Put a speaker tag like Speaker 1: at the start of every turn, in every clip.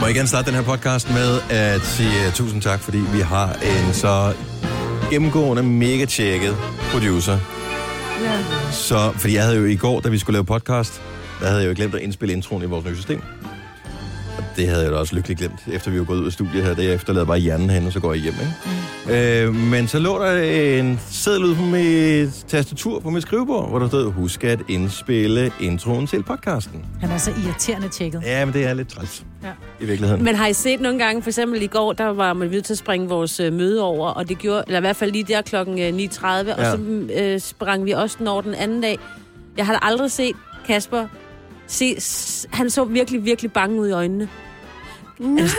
Speaker 1: må jeg gerne starte den her podcast med at sige uh, tusind tak, fordi vi har en så gennemgående, mega tjekket producer.
Speaker 2: Ja.
Speaker 1: Så, fordi jeg havde jo i går, da vi skulle lave podcast, der havde jeg jo glemt at indspille introen i vores nye system. Og det havde jeg da også lykkeligt glemt, efter vi var gået ud af studiet her. Det efterlader bare hjernen hen, og så går jeg hjem, ikke? Mm. Øh, men så lå der en seddel ud på mit tastatur på mit skrivebord, hvor der stod, husk at indspille introen til podcasten.
Speaker 3: Han er så irriterende tjekket.
Speaker 1: Ja, men det er lidt træls
Speaker 3: Ja.
Speaker 1: i virkeligheden.
Speaker 2: Men har I set nogle gange, for eksempel i går, der var man nødt til at springe vores øh, møde over, og det gjorde, eller i hvert fald lige der klokken øh, 9.30, ja. og
Speaker 1: Ja.
Speaker 2: så øh, sprang vi også den over den anden dag. Jeg har da aldrig set Kasper, se, s- han så virkelig, virkelig bange ud i øjnene. Altså,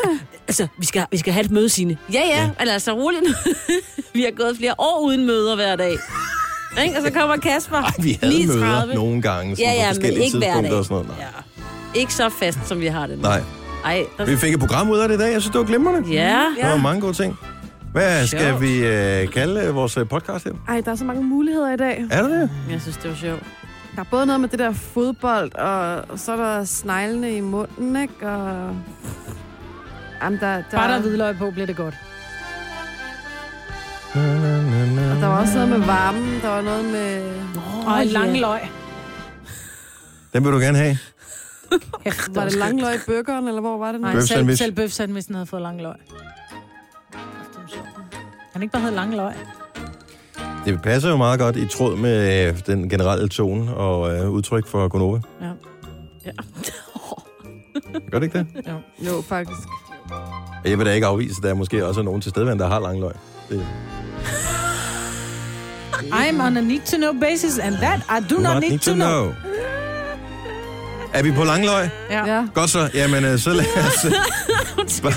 Speaker 2: altså, vi skal, vi skal have et møde, Signe. Ja, ja, men altså roligt nu. vi har gået flere år uden møder hver dag. Ikke? Og så kommer Kasper.
Speaker 1: Ej, vi havde
Speaker 2: 9.30.
Speaker 1: møder nogle gange, sådan
Speaker 2: Ja, ja,
Speaker 1: på
Speaker 2: men
Speaker 1: forskellige
Speaker 2: ikke hver
Speaker 1: tidspunkter
Speaker 2: dag.
Speaker 1: og sådan noget. Nej.
Speaker 2: Ikke så fast, som vi har det nu.
Speaker 1: Nej.
Speaker 2: Ej, der...
Speaker 1: Vi fik et program ud af det i dag, jeg synes, det var glimrende.
Speaker 2: Ja.
Speaker 1: Der var mange gode ting. Hvad skal
Speaker 2: Sjovt.
Speaker 1: vi øh, kalde øh, vores øh, podcast her?
Speaker 4: Ej, der er så mange muligheder i dag.
Speaker 1: Er det det?
Speaker 2: Jeg synes, det var sjovt.
Speaker 4: Der er både noget med det der fodbold, og så er der sneglene i munden, ikke? Og... Jamen, der, der,
Speaker 3: Bare der er hvidløg på, bliver det godt.
Speaker 4: og der var også noget med varmen, der var noget med...
Speaker 3: Og oh, lang løg.
Speaker 1: Den vil du gerne have.
Speaker 4: Var det langløg i burgeren, eller hvor var det nu?
Speaker 3: Nej,
Speaker 1: Bøf
Speaker 3: selv,
Speaker 1: sandwich.
Speaker 3: selv bøf sandwichen havde fået lang løg. Kæft, det var sjovt. Han ikke bare havde lang løg.
Speaker 1: Det passer jo meget godt i tråd med øh, den generelle tone og øh, udtryk for Gonova.
Speaker 3: Ja.
Speaker 2: Ja.
Speaker 1: Gør det ikke det?
Speaker 4: Jo, faktisk.
Speaker 1: Jeg vil da ikke afvise, at der måske også er nogen til stedvand, der har lang løg. Det,
Speaker 3: I'm on a need to know basis, and that I do not, need, to know.
Speaker 1: Er vi på langløg?
Speaker 3: Ja.
Speaker 4: Ja.
Speaker 1: Godt så. Jamen, øh, så lad os øh,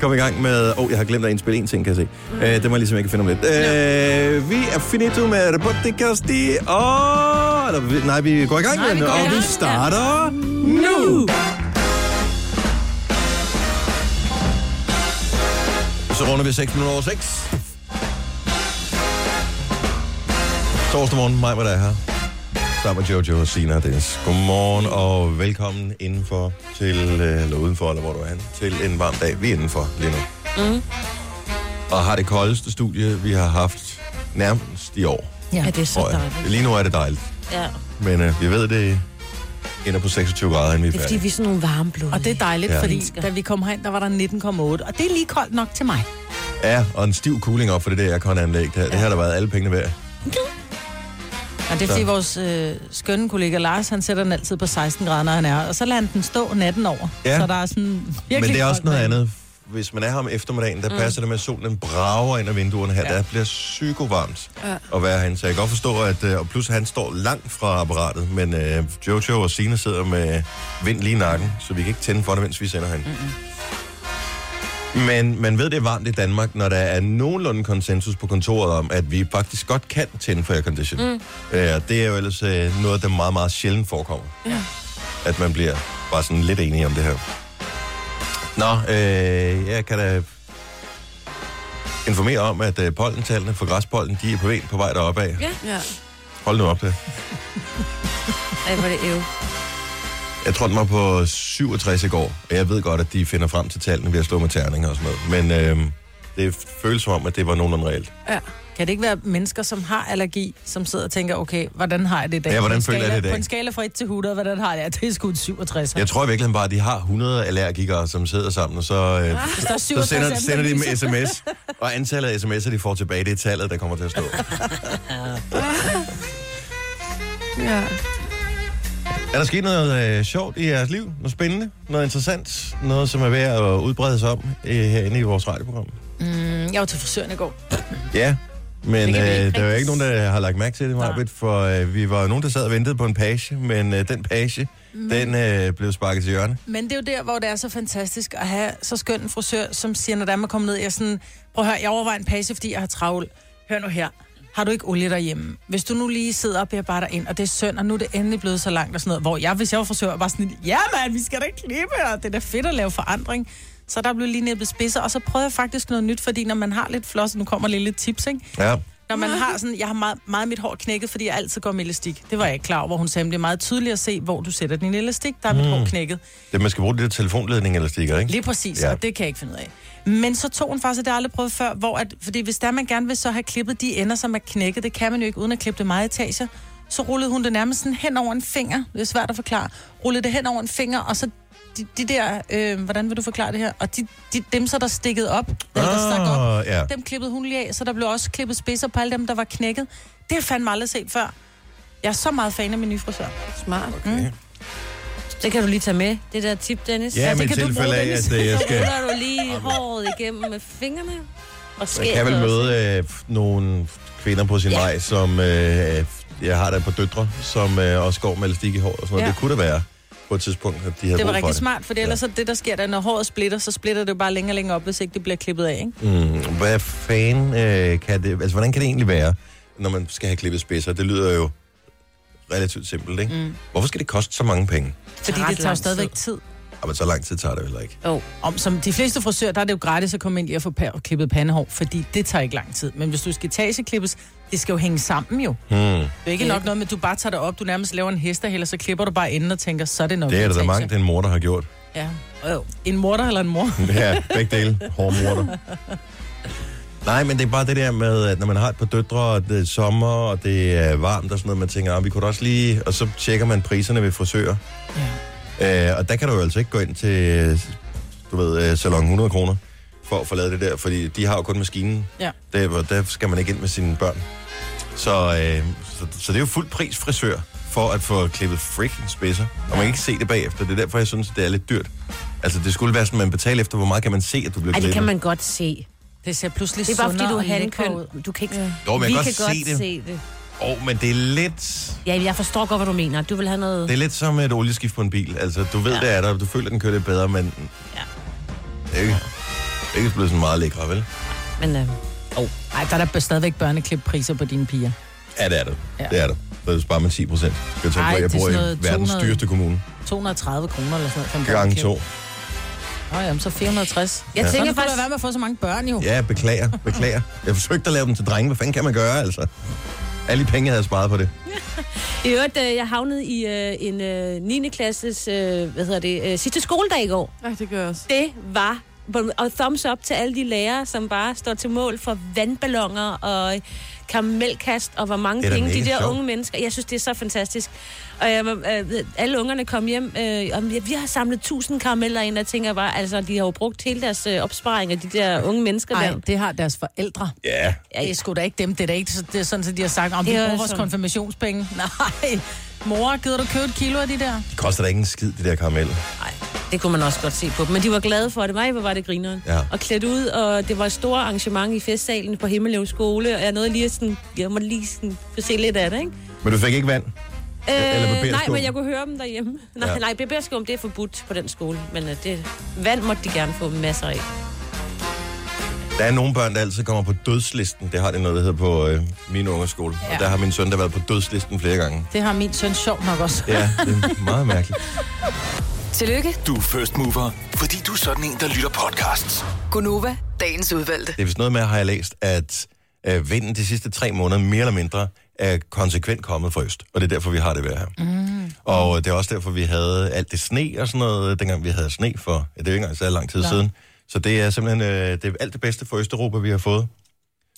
Speaker 1: komme i gang med... Åh, oh, jeg har glemt at indspille en ting, kan jeg se. Øh, det må jeg ligesom ikke finde om lidt. Øh, vi er finito med Roboticasti, og... Eller, nej, vi går i gang
Speaker 3: Nej,
Speaker 1: med
Speaker 3: vi
Speaker 1: den,
Speaker 3: går
Speaker 1: og
Speaker 3: i gang
Speaker 1: vi
Speaker 3: med
Speaker 1: starter nu! Så runder vi 6 minutter over 6. Torsdag morgen, mig var der her. Sammen med Jojo og Sina og Dennis. Godmorgen og velkommen indenfor til, øh, eller udenfor, eller hvor du er hen, til en varm dag. Vi er indenfor lige nu. Mm. Og har det koldeste studie, vi har haft nærmest i år.
Speaker 3: Ja, det er så
Speaker 1: tror jeg.
Speaker 3: dejligt.
Speaker 1: Lige nu er det dejligt,
Speaker 2: Ja.
Speaker 1: men øh, vi ved, det ender på 26 grader, inden vi er
Speaker 2: Det er fordi,
Speaker 1: færdige.
Speaker 2: vi er sådan nogle varme blod.
Speaker 3: Og det er dejligt,
Speaker 1: Ja.
Speaker 3: ja. fordi da vi kom herind, der var der 19,8, og det er lige koldt nok til mig.
Speaker 1: Ja, og en stiv cooling op for det der aircon-anlæg. Det, ja. det har der været alle pengene værd.
Speaker 3: Og det er fordi vores øh, skønne kollega Lars, han sætter den altid på 16 grader, når han er her, og så lader han den stå natten over.
Speaker 1: Ja.
Speaker 3: Så der er sådan virkelig
Speaker 1: Men det er også
Speaker 3: koldt
Speaker 1: noget
Speaker 3: derinde.
Speaker 1: andet. Hvis man er her om eftermiddagen, der passer det med, at solen brager ind ad vinduerne her. Mm. Ja.
Speaker 3: Ja.
Speaker 1: Der bliver psykovarmt ja. at være herinde. Så jeg kan godt forstå, at øh, og plus han står langt fra apparatet, men øh, Jojo og Sina sidder med vind lige i nakken, så vi kan ikke tænde for det, mens vi sender hende. Men man ved, det er varmt i Danmark, når der er nogenlunde konsensus på kontoret om, at vi faktisk godt kan tænde for aircondition. Mm. Øh, og det er jo ellers øh, noget, der meget, meget sjældent forekommer. Ja. At man bliver bare sådan lidt enige om det her. Nå, øh, jeg kan da informere om, at øh, pollentallene for græspollen, de er på, vej- på vej deroppe af.
Speaker 2: Ja.
Speaker 4: Ja.
Speaker 1: Hold nu op øh. det.
Speaker 2: Ej, hvor er det æv.
Speaker 1: Jeg tror, den var på 67 i går, og jeg ved godt, at de finder frem til tallene ved at slå med terninger og sådan noget. Men øh, det føles som om, at det var nogenlunde reelt.
Speaker 3: Kan det ikke være mennesker, som har allergi, som sidder og tænker, okay, hvordan har jeg det i dag?
Speaker 1: Ja, hvordan
Speaker 3: På en
Speaker 1: føler jeg
Speaker 3: skala-
Speaker 1: det i dag?
Speaker 3: På en skala fra 1 til 100, hvordan har jeg det? Det er sgu en 67.
Speaker 1: Jeg tror i virkeligheden bare, at de har 100 allergikere, som sidder sammen, og så, øh,
Speaker 3: Hvis der er
Speaker 1: så
Speaker 3: 67
Speaker 1: sender, sender de
Speaker 3: anmeldelser.
Speaker 1: med sms. Og antallet af sms'er, de får tilbage, det er tallet, der kommer til at stå.
Speaker 4: ja.
Speaker 1: Er der sket noget øh, sjovt i jeres liv? Noget spændende? Noget interessant? Noget, som er værd at udbrede sig om øh, herinde i vores radioprogram?
Speaker 3: Mm, Jeg var til frisøren i går.
Speaker 1: Ja, men
Speaker 3: Det
Speaker 1: øh,
Speaker 3: kan vi ikke
Speaker 1: der er jo
Speaker 3: rigtig
Speaker 1: ikke nogen, der har lagt mærke til det,
Speaker 3: Nej.
Speaker 1: Marbet, for øh, vi var jo nogen, der sad og ventede på en page, men øh, den page,
Speaker 3: Mhm.
Speaker 1: den øh, blev sparket til hjørne.
Speaker 3: Men det er jo der, hvor det er så fantastisk at have så skøn en frisør, som siger, når der er man kommer ned, jeg er sådan, prøv at høre, jeg overvejer en page, fordi jeg har travlt. Hør nu her. Har du ikke olie derhjemme? Hvis du nu lige sidder og bearbejder ind, og det er søn, og nu er det endelig blevet så langt og sådan noget, hvor jeg, hvis jeg var frisør, var sådan, lidt, ja mand, vi skal da ikke klippe, og det er da fedt at lave forandring. Så der blev lige næbbet spidser, og så prøvede jeg faktisk noget nyt, fordi når man har lidt floss, nu kommer lige lidt tips, ikke?
Speaker 1: Ja.
Speaker 3: Når man har sådan, jeg har meget, meget mit hår knækket, fordi jeg altid går med elastik. Det var jeg ikke klar over, hvor hun sagde, "Men det er meget tydeligt at se, hvor du sætter din elastik. Der er mit hår knækket.
Speaker 1: Det, man skal bruge det der telefonledning eller stikker, ikke?
Speaker 3: Lige præcis,
Speaker 1: Ja.
Speaker 3: ja. og det kan jeg ikke finde ud af. Men så tog hun faktisk, og det har jeg aldrig prøvet før, hvor at, fordi hvis der man gerne vil så have klippet de ender, som er knækket, det kan man jo ikke uden at klippe det meget i etager, så rullede hun det nærmest sådan hen over en finger, det er svært at forklare, rullede det hen over en finger, og så de, de der, øh, hvordan vil du forklare det her, og de, de, dem så der stikket op, eller der stak op,
Speaker 1: Ah, ja.
Speaker 3: dem klippede hun lige af, så der blev også klippet spidser på alle dem, der var knækket. Det har jeg fandme aldrig set før. Jeg er så meget fan af min Mm. nye frisør.
Speaker 4: Smart.
Speaker 1: Okay.
Speaker 2: Det kan du lige tage med, det der tip, Dennis.
Speaker 1: Ja,
Speaker 3: det
Speaker 1: men i
Speaker 3: kan du
Speaker 1: tilfælde
Speaker 3: bruge,
Speaker 1: af,
Speaker 3: Dennis.
Speaker 1: at øh, jeg
Speaker 2: Så
Speaker 1: skal...
Speaker 2: ruller du lige håret igennem med fingrene og skærer
Speaker 1: Jeg kan vel møde øh, nogle kvinder på sin ja.
Speaker 2: Ja.
Speaker 1: vej, som... Øh, jeg har da et par døtre, som øh, også går med elastik i håret og sådan noget. Ja.
Speaker 3: Ja.
Speaker 1: Det kunne da være på et tidspunkt, at de havde
Speaker 3: Det var
Speaker 1: brug for
Speaker 3: rigtig smart, for ellers så det, der sker, der, når håret splitter, så splitter det jo bare længere og længere op, hvis ikke det bliver klippet af, ikke?
Speaker 1: Mm, hvad fanden øh, kan det... Altså, hvordan kan det egentlig være, når man skal have klippet spidser? Det lyder jo relativt simpelt, ikke? Mm. Hvorfor skal det koste så mange penge?
Speaker 3: Fordi
Speaker 2: ret
Speaker 3: det tager jo
Speaker 2: lang tid.
Speaker 3: stadigvæk tid.
Speaker 1: Ah, men så lang tid tager det jo heller ikke.
Speaker 2: Oh.
Speaker 3: Om, som de fleste frisører, der er det jo gratis at komme ind lige og få pa- og klippet pandehår, fordi det tager ikke lang tid. Men hvis du skal etageklippes, det skal jo hænge sammen jo. Det
Speaker 1: Hmm.
Speaker 3: er ikke nok noget med, at du bare tager det op, du nærmest laver en hest eller så klipper du bare enden og tænker, så er det nok
Speaker 1: Det er der da
Speaker 3: etage.
Speaker 1: mange, den mor, der har gjort.
Speaker 3: Ja. Øh, En morter eller en mor?
Speaker 1: Ja, begge dele. Hårde morter. Nej, men det er bare det der med, at når man har et par døtre, og det er sommer, og det er varmt og sådan noget, man tænker, ah, vi kunne da også lige... Og så tjekker man priserne ved frisører.
Speaker 3: Ja.
Speaker 1: Øh, og der kan du jo altså ikke gå ind til, øh, du ved, øh, salon 100 kroner for at få lavet det der, fordi de har jo kun maskinen.
Speaker 3: Ja.
Speaker 1: Der, hvor- der skal man ikke ind med sine børn. Så, øh, så, så det er jo fuld pris frisør for at få klippet freaking spidser. Og man kan ikke se det bagefter. Det er derfor, jeg synes, det er lidt dyrt. Altså, det skulle være sådan, man betaler efter, hvor meget kan man se, at du bliver
Speaker 2: Ej, det
Speaker 1: klippet.
Speaker 2: kan man godt se.
Speaker 3: Det ser pludselig
Speaker 2: Det er bare fordi,
Speaker 3: sundere
Speaker 2: du er
Speaker 3: og lækker ud.
Speaker 2: handkøn. Du kan ikke... Ja.
Speaker 1: Jo, men jeg
Speaker 2: vi
Speaker 1: kan
Speaker 2: kan
Speaker 1: godt
Speaker 2: godt
Speaker 1: se det.
Speaker 2: se det.
Speaker 1: Åh, oh, men det er lidt...
Speaker 2: Ja, jeg forstår godt, hvad du mener. Du vil have noget...
Speaker 1: Det er lidt som et olieskift på en bil. Altså, du ved, ja.
Speaker 2: Ja.
Speaker 1: det er der, og du føler, den kører lidt bedre, men...
Speaker 2: Ja.
Speaker 1: Det er ikke, det er ikke blevet sådan meget lækre, vel?
Speaker 2: Men, øh,
Speaker 3: Ej, der er der stadigvæk børneklippriser på dine piger.
Speaker 1: Ja, det er det. Ja.
Speaker 3: Ja.
Speaker 1: Det er det. Så sparer man 10 procent. Jeg tænker,
Speaker 3: Ej,
Speaker 1: Ej, jeg
Speaker 3: det er
Speaker 1: bor i
Speaker 3: sådan noget
Speaker 1: verdens
Speaker 3: 200.
Speaker 1: dyreste kommune.
Speaker 3: 230 kroner eller sådan noget.
Speaker 1: Gange to.
Speaker 3: Nå ja, men så 460.
Speaker 2: Jeg
Speaker 3: ja.
Speaker 2: tænker
Speaker 3: Sådan skulle
Speaker 2: faktisk-
Speaker 3: det være med at få så mange børn jo.
Speaker 1: Ja, beklager, beklager. Jeg forsøgte at lave dem til drenge. Hvad fanden kan man gøre, altså? Alle de penge, jeg havde sparet på det.
Speaker 2: I øvrigt, øh, jeg havnede i øh, en øh, 9. klasses, øh, hvad hedder det, øh, sidste skoledag i går.
Speaker 4: Ja, det gør jeg også.
Speaker 2: Det var, og thumbs up til alle de lærere, som bare står til mål for vandballoner og karamelkast, og hvor
Speaker 1: Det er
Speaker 2: mange
Speaker 1: da
Speaker 2: penge de
Speaker 1: mega
Speaker 2: der
Speaker 1: sjovt.
Speaker 2: unge mennesker. Jeg synes, det er så fantastisk. Og jeg, var- øh, alle ungerne kom hjem, øh, og vi- vi har samlet 1000 karameller ind, og jeg tænker bare, altså, de har jo brugt hele deres øh, opsparing af de der unge mennesker.
Speaker 3: Nej,
Speaker 2: der.
Speaker 3: det har deres forældre.
Speaker 1: Ja.
Speaker 2: Ja,
Speaker 3: Det er sgu da ikke dem. Det er da ikke så- det er sådan, at de har sagt, om vi
Speaker 2: Det er jo
Speaker 3: bruger vores
Speaker 2: sådan.
Speaker 3: konfirmationspenge. Nej, mor, gider du købe et kilo af de der?
Speaker 1: Det koster da ikke en skid, de der karameller.
Speaker 2: Nej, det kunne man også godt se på dem. Men de var glade for det. Mig, hvor var det grineren.
Speaker 1: Ja.
Speaker 2: Og klædt ud, og det var et stort arrangement i festsalen på Himmeløv Skole. Og jeg nåede lige at sådan, jeg måtte lige sådan få se lidt af det, ikke?
Speaker 1: Men du fik ikke vand? Eller barberskum.
Speaker 2: Øh, nej, men jeg kunne høre dem derhjemme. Nej,
Speaker 1: Ja.
Speaker 2: ja. nej, barberskum, det er forbudt på den skole. Men øh, det, vand måtte de gerne få masser af.
Speaker 1: Der er nogle børn, der altid kommer på dødslisten. Det har det noget, der hedder på øh, min ungers skole. Ja. Og
Speaker 3: Ja.
Speaker 1: der har min søn, der været på dødslisten flere gange.
Speaker 3: Det har min søn sjov nok også.
Speaker 1: Ja, det er meget mærkeligt.
Speaker 5: Tillykke,
Speaker 6: Du er first mover, fordi du er sådan en, der lytter podcasts.
Speaker 5: Gunova, dagens udvalgte.
Speaker 1: Det er vist noget med, har jeg læst, at øh, vinden de sidste tre måneder, mere eller mindre, er konsekvent kommet fra øst. Og det er derfor, vi har det vejr her. Mm. Og det er også derfor, vi havde alt det sne og sådan noget, dengang vi havde sne for, ja, det er jo ikke engang så lang tid ja. siden. Så det er simpelthen øh, det er alt det bedste for Østeuropa, vi har fået.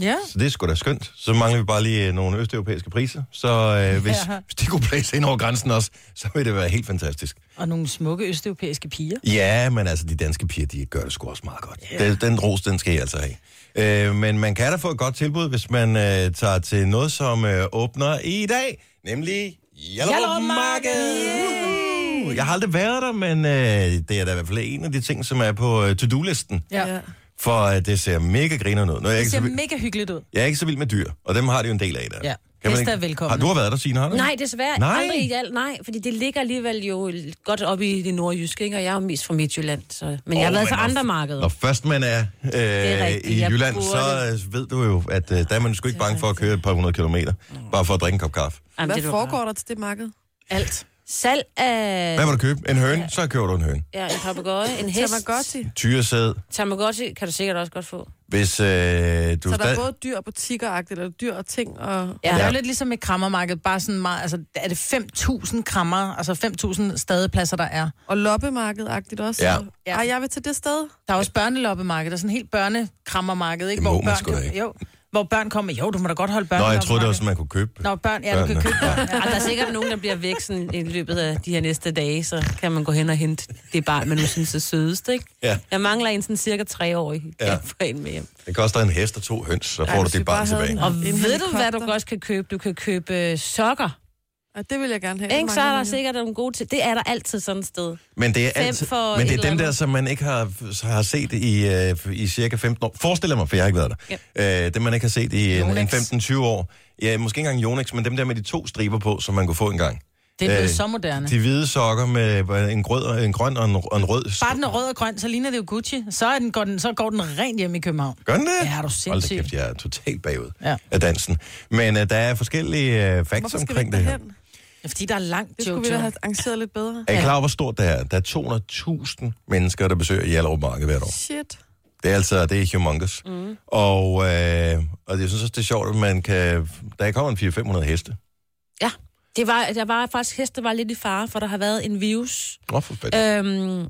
Speaker 3: Ja.
Speaker 1: Så det er sgu da skønt. Så mangler vi bare lige øh, nogle østeuropæiske priser. Så øh, hvis, ja.
Speaker 3: Ja.
Speaker 1: hvis de kunne blæse ind over grænsen også, så ville det være helt fantastisk.
Speaker 3: Og nogle smukke østeuropæiske piger.
Speaker 1: Ja, men altså, de danske piger, de gør det sgu også meget godt. Yeah. Den, den ros, den skal I altså have. Øh, men man kan da få et godt tilbud, hvis man øh, tager til noget, som øh, åbner i dag, nemlig Hjallerup
Speaker 3: Hjallerup
Speaker 1: Marked.
Speaker 3: Marked!
Speaker 1: Woohoo! Jeg har aldrig været der, men øh, det er da i hvert fald en af de ting, som er på øh, to-do-listen.
Speaker 3: Ja.
Speaker 1: For øh, det ser mega griner ud. Nu er jeg,
Speaker 3: Det
Speaker 1: ikke
Speaker 3: ser
Speaker 1: så vild,
Speaker 3: mega hyggeligt ud.
Speaker 1: jeg er ikke så vild med dyr, og dem har de jo en del af der.
Speaker 3: Ja.
Speaker 1: man
Speaker 3: Heste
Speaker 1: ikke-
Speaker 3: er velkomne.
Speaker 1: Har du har været der, Signe? Har du?
Speaker 2: Nej, desværre
Speaker 1: Nej.
Speaker 2: nej. aldrig i alt. Nej, fordi det ligger alligevel jo godt oppe i det nordjyske, ikke? og jeg er jo mest fra Midtjylland. Så. Men oh, jeg har
Speaker 1: Åh,
Speaker 2: været til
Speaker 1: men når-
Speaker 2: andre markeder.
Speaker 1: Når først man er, øh,
Speaker 2: er
Speaker 1: er
Speaker 2: rigtigt,
Speaker 1: i
Speaker 2: jeg
Speaker 1: Jylland,
Speaker 2: burde.
Speaker 1: så øh, ved du jo, at øh, der er man sgu ikke bange for at køre et par hundrede kilometer, bare for at drikke en kop kaffe.
Speaker 2: Jamen,
Speaker 4: Hvad
Speaker 2: det er du
Speaker 4: foregår der til det marked?
Speaker 3: Alt.
Speaker 2: Salg af
Speaker 1: Hvad må du købe? En høne? Så køber du en høne.
Speaker 2: ja, en papegøje, en hest.
Speaker 4: Tamagotchi.
Speaker 1: Tyresæd.
Speaker 2: Tamagotchi kan du sikkert også godt få.
Speaker 1: Hvis øh, du
Speaker 4: Så der er
Speaker 1: stadig...
Speaker 4: både dyr og butikkeragtigt, eller dyr og ting, og...
Speaker 3: Ja. Det er
Speaker 1: Ja.
Speaker 3: jo lidt ligesom et krammermarked, bare sådan meget, altså er det 5.000 krammer, altså 5.000 stadepladser, der er.
Speaker 4: Og loppemarkedagtigt også.
Speaker 1: Ja.
Speaker 4: Ja. Ej, jeg vil til det sted.
Speaker 3: Der er også børneloppemarked, der er sådan helt børnekrammermarked, ikke?
Speaker 1: Det må
Speaker 3: hvor
Speaker 1: man
Speaker 3: børn
Speaker 1: sgu da
Speaker 3: kan,
Speaker 1: ikke.
Speaker 3: Jo, hvor børn kommer, jo, du må da godt holde børn.
Speaker 1: Nå, jeg troede, det var sådan, man kunne købe.
Speaker 3: Nå, børn, ja, du kan
Speaker 1: Børnene.
Speaker 3: købe børn.
Speaker 2: Og der er sikkert nogen, der bliver væk sådan, i løbet af de her næste dage, så kan man gå hen og hente det barn, man nu synes er sødest, ikke?
Speaker 1: Ja.
Speaker 2: Jeg mangler en sådan cirka tre år i
Speaker 1: Ja.
Speaker 2: ja. for en med hjem.
Speaker 1: Det koster en hest og to høns, så får du
Speaker 4: hvis vi
Speaker 1: dit barn
Speaker 4: bare havde
Speaker 1: tilbage.
Speaker 4: en-
Speaker 2: Og
Speaker 4: En
Speaker 2: ved du, hvad
Speaker 4: helikopter.
Speaker 2: du godt kan købe? Du kan købe øh, sokker,
Speaker 4: Ja, det vil jeg gerne have.
Speaker 2: ikke?
Speaker 4: Det
Speaker 2: Så er
Speaker 4: mangler
Speaker 2: der
Speaker 4: man jo.
Speaker 2: sikkert nogle gode til. Det er der altid sådan et sted.
Speaker 1: Men det er,
Speaker 2: Fem
Speaker 1: altid,
Speaker 2: for
Speaker 1: men
Speaker 2: et
Speaker 1: det er
Speaker 2: eller
Speaker 1: dem der,
Speaker 2: andet.
Speaker 1: som man ikke har, har set i, øh, i cirka 15 år. Forestil dig mig, for jeg har ikke været der. Ja. Øh, dem, man ikke har set i en, en
Speaker 3: Yonex.
Speaker 1: 15-20 år. Ja, måske ikke engang Yonex, men dem der med de to striber på, som man kunne få engang.
Speaker 3: Det er blevet
Speaker 1: Øh,
Speaker 3: så moderne.
Speaker 1: De hvide sokker med øh, en, grød, og- en grøn og en, og en rød.
Speaker 3: Bare den er rød og grøn, så ligner det jo Gucci. Så, er den, går, den, så går den rent hjem i København.
Speaker 1: Gør den det?
Speaker 3: Ja, er du
Speaker 1: Øh. Hold da
Speaker 3: sindssyg.
Speaker 1: kæft, jeg er totalt bagud
Speaker 3: Ja.
Speaker 1: af dansen. Men uh, der er forskellige uh, facts
Speaker 4: Hvorfor skal vi
Speaker 1: omkring
Speaker 4: ikke
Speaker 1: det her.
Speaker 4: derhen?
Speaker 3: Fordi der er langt,
Speaker 4: Det
Speaker 3: jo.
Speaker 4: skulle vi da have arrangeret lidt bedre.
Speaker 1: Er I klar over, hvor stort det er? Der er 200.000 mennesker, der besøger Hjallerup Marked hvert år.
Speaker 4: Shit.
Speaker 1: Det er altså, det er humongous. Mm. Og, øh, og jeg synes også, det er sjovt, at man kan, der kommer en 400-500 heste.
Speaker 2: Ja. Det var, der var faktisk heste var lidt i fare, for der har været en virus,
Speaker 1: Nå, for fanden.
Speaker 2: øhm,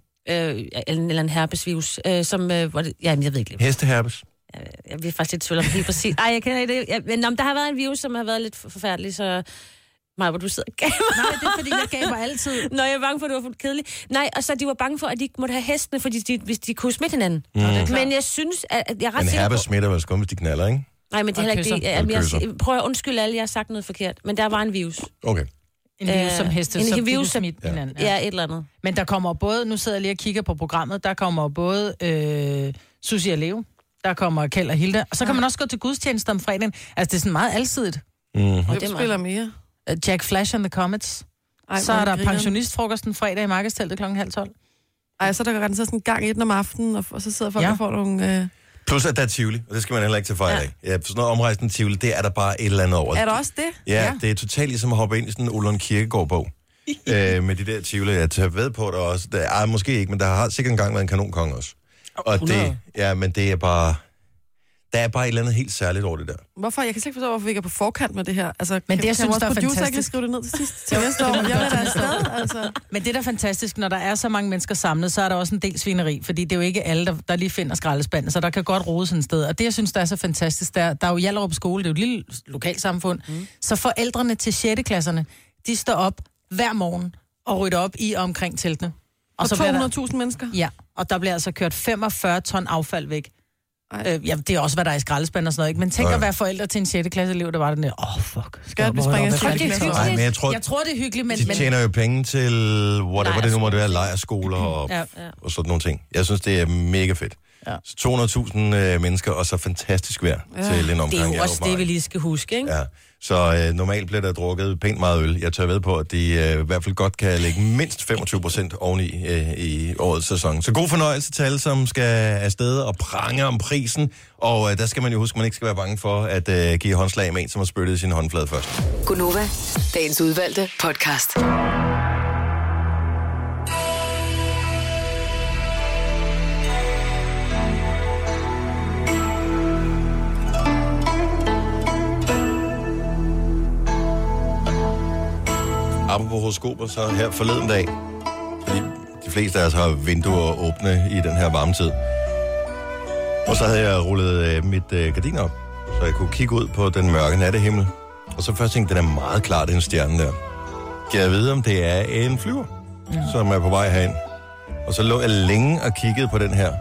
Speaker 2: øh, en, eller en herpesvirus, øh, som... Øh, hvor det, jamen, jeg ved ikke lige,
Speaker 1: Hesteherpes.
Speaker 2: jeg bliver faktisk lidt i tvivl om helt præcis. Ej, jeg kender ikke det. Jeg, men om der har været en virus, som har været lidt forfærdelig, så... Maja, hvor du sidder og gamer.
Speaker 3: Nej, det er fordi, jeg gav mig altid.
Speaker 2: Nå, jeg er bange for, at det var for kedeligt. Nej, og så de var bange for, at de ikke måtte have hestene, fordi de, hvis de kunne smitte hinanden. Mm. Men jeg synes, at at jeg er ret
Speaker 1: Men
Speaker 2: sikker på...
Speaker 1: herpes smitter vel kun, hvis de knaller, ikke?
Speaker 2: Nej, men det er
Speaker 3: Og
Speaker 2: heller ikke det.
Speaker 3: kysser.
Speaker 2: Jeg, jeg,
Speaker 1: Og
Speaker 2: jeg, prøv at undskylde alle, jeg har sagt noget forkert. Men der var en virus.
Speaker 1: Okay.
Speaker 3: En virus
Speaker 2: Øh,
Speaker 3: som heste,
Speaker 2: en
Speaker 3: så bliver du
Speaker 2: virus som-
Speaker 3: smidt ja. hinanden.
Speaker 2: Ja, ja et eller andet.
Speaker 3: Men der kommer både, nu sidder jeg lige og kigger på programmet, der kommer både øh, Susie og Leo, der kommer Kjeld og Hilda, og så kan man også gå til gudstjeneste om fredagen. Altså, det er sådan meget alsidigt.
Speaker 1: Mm.
Speaker 4: Hvem
Speaker 2: det er
Speaker 4: spiller mere?
Speaker 3: Øh, Jack Flash and the Comets.
Speaker 4: Ej,
Speaker 3: så
Speaker 4: hvor
Speaker 3: er der
Speaker 4: grineren.
Speaker 3: pensionistfrokosten fredag i markedsteltet kl. halv tolv.
Speaker 4: Ej, så er der renset sådan en gang i den om aftenen, og, og så sidder folk
Speaker 3: Ja.
Speaker 4: ja. og får nogle... Øh...
Speaker 1: Plus, at der er Tivoli, og det skal man heller ikke tage fejl af. Ja. ja, for sådan noget omrejsende Tivoli, det er der bare et eller andet over.
Speaker 4: Er der også det?
Speaker 1: Ja, ja, det er totalt ligesom at hoppe ind i sådan en Ullund Kirkegård-bog. øh, med de der tvivler, jeg tager ved på der også. Der, ej, måske ikke, men der har sikkert engang været en kanonkonge også. Og det, ja, men det er bare... Der er bare et eller andet helt særligt over det der.
Speaker 4: Hvorfor? Jeg kan slet ikke forstå, hvorfor vi ikke er på forkant med det her. Altså, Men
Speaker 3: det, jeg synes, der er
Speaker 4: producer ikke
Speaker 3: fantastisk.
Speaker 4: lige skrive det ned til sidst til næste år? Jeg vil da afsted, altså.
Speaker 3: Men det, der er fantastisk, når der er så mange mennesker samlet, så er der også en del svineri, fordi det er jo ikke alle, der, der lige finder skraldespanden, så der kan godt rode sådan et sted. Og det, jeg synes, der er så fantastisk, der, der er jo Hjallerup Skole, det er jo et lille lokalsamfund, mm. så forældrene til 6. klasserne, de står op hver morgen og rydder op i og omkring teltene. Og,
Speaker 4: Og
Speaker 3: så bliver der,
Speaker 4: 200.000 mennesker.
Speaker 3: ja, og der bliver altså kørt 45 ton affald væk.
Speaker 4: Ej.
Speaker 3: Øh, ja, det er også, hvad der er i skraldespanden og sådan noget, ikke? Men tænk
Speaker 1: Ja.
Speaker 3: at være forældre til en 6. klasse elev, der var den der, åh, oh, fuck. Skal
Speaker 4: Godt, vi
Speaker 3: op og rydde
Speaker 4: springer
Speaker 3: op
Speaker 4: straks
Speaker 3: efter
Speaker 4: videre.
Speaker 3: klasserne?"
Speaker 1: Nej, men jeg tror,
Speaker 3: Jeg tror, det er hyggeligt, men...
Speaker 1: de
Speaker 3: men-
Speaker 1: tjener jo penge til whatever det nu måtte være, lejerskoler og,
Speaker 3: Ja.
Speaker 1: og sådan nogle ting. Jeg synes, det er mega fedt. Ja.
Speaker 3: Ja.
Speaker 1: 200.000 øh, mennesker, og så fantastisk vejr ja. til en omgang.
Speaker 2: Det er jo
Speaker 1: Hjallerup
Speaker 2: også det,
Speaker 1: Marked.
Speaker 2: vi lige skal huske, ikke?
Speaker 1: Ja, så øh, normalt bliver der drukket pænt meget øl. Jeg tør ved på, at de øh, i hvert fald godt kan lægge mindst 25 procent oveni øh, i årets sæson. Så god fornøjelse til alle, som skal afsted og prange om prisen. Og øh, der skal man jo huske, at man ikke skal være bange for at øh, give håndslag med en, som har spyttet sin håndflade først.
Speaker 5: Gunova, dagens udvalgte podcast.
Speaker 1: Apropos horoskoper, så her forleden dag, fordi de fleste af os har vinduer åbne i den her varme tid. Og så havde jeg rullet øh, mit øh, gardin op, så jeg kunne kigge ud på den mørke nattehimmel. Og så først tænkte jeg, den er meget klar, den stjerne der. Kan jeg vide, om det er en flyver, ja. som er på vej herind? Og så lå jeg længe og kiggede på den her.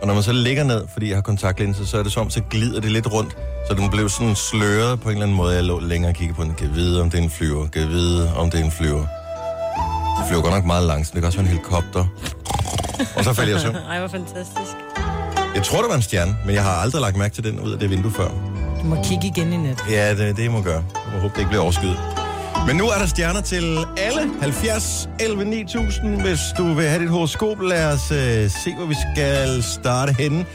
Speaker 1: Og når man så ligger ned, fordi jeg har kontaktlinser, så er det som, om, så glider det lidt rundt. Så den blev sådan sløret på en eller anden måde. Jeg lå længere og kiggede på den. Kan jeg vide, om det er en flyver? Kan jeg vide, om det er en flyver? Den flyver godt nok meget langsomt. Det kan også være en helikopter. Og så faldt jeg i søvn.
Speaker 2: Ej, hvor fantastisk.
Speaker 1: Jeg tror, det var en stjerne, men jeg har aldrig lagt mærke til den ud af det vindue før.
Speaker 3: Du må kigge igen i net.
Speaker 1: Ja, det, det må gøre. Jeg håber, det ikke bliver overskyet. Men nu er der stjerner til alle 70, 11, 9000. Hvis du vil have dit horoskop, lad os øh, se, hvor vi skal starte henne.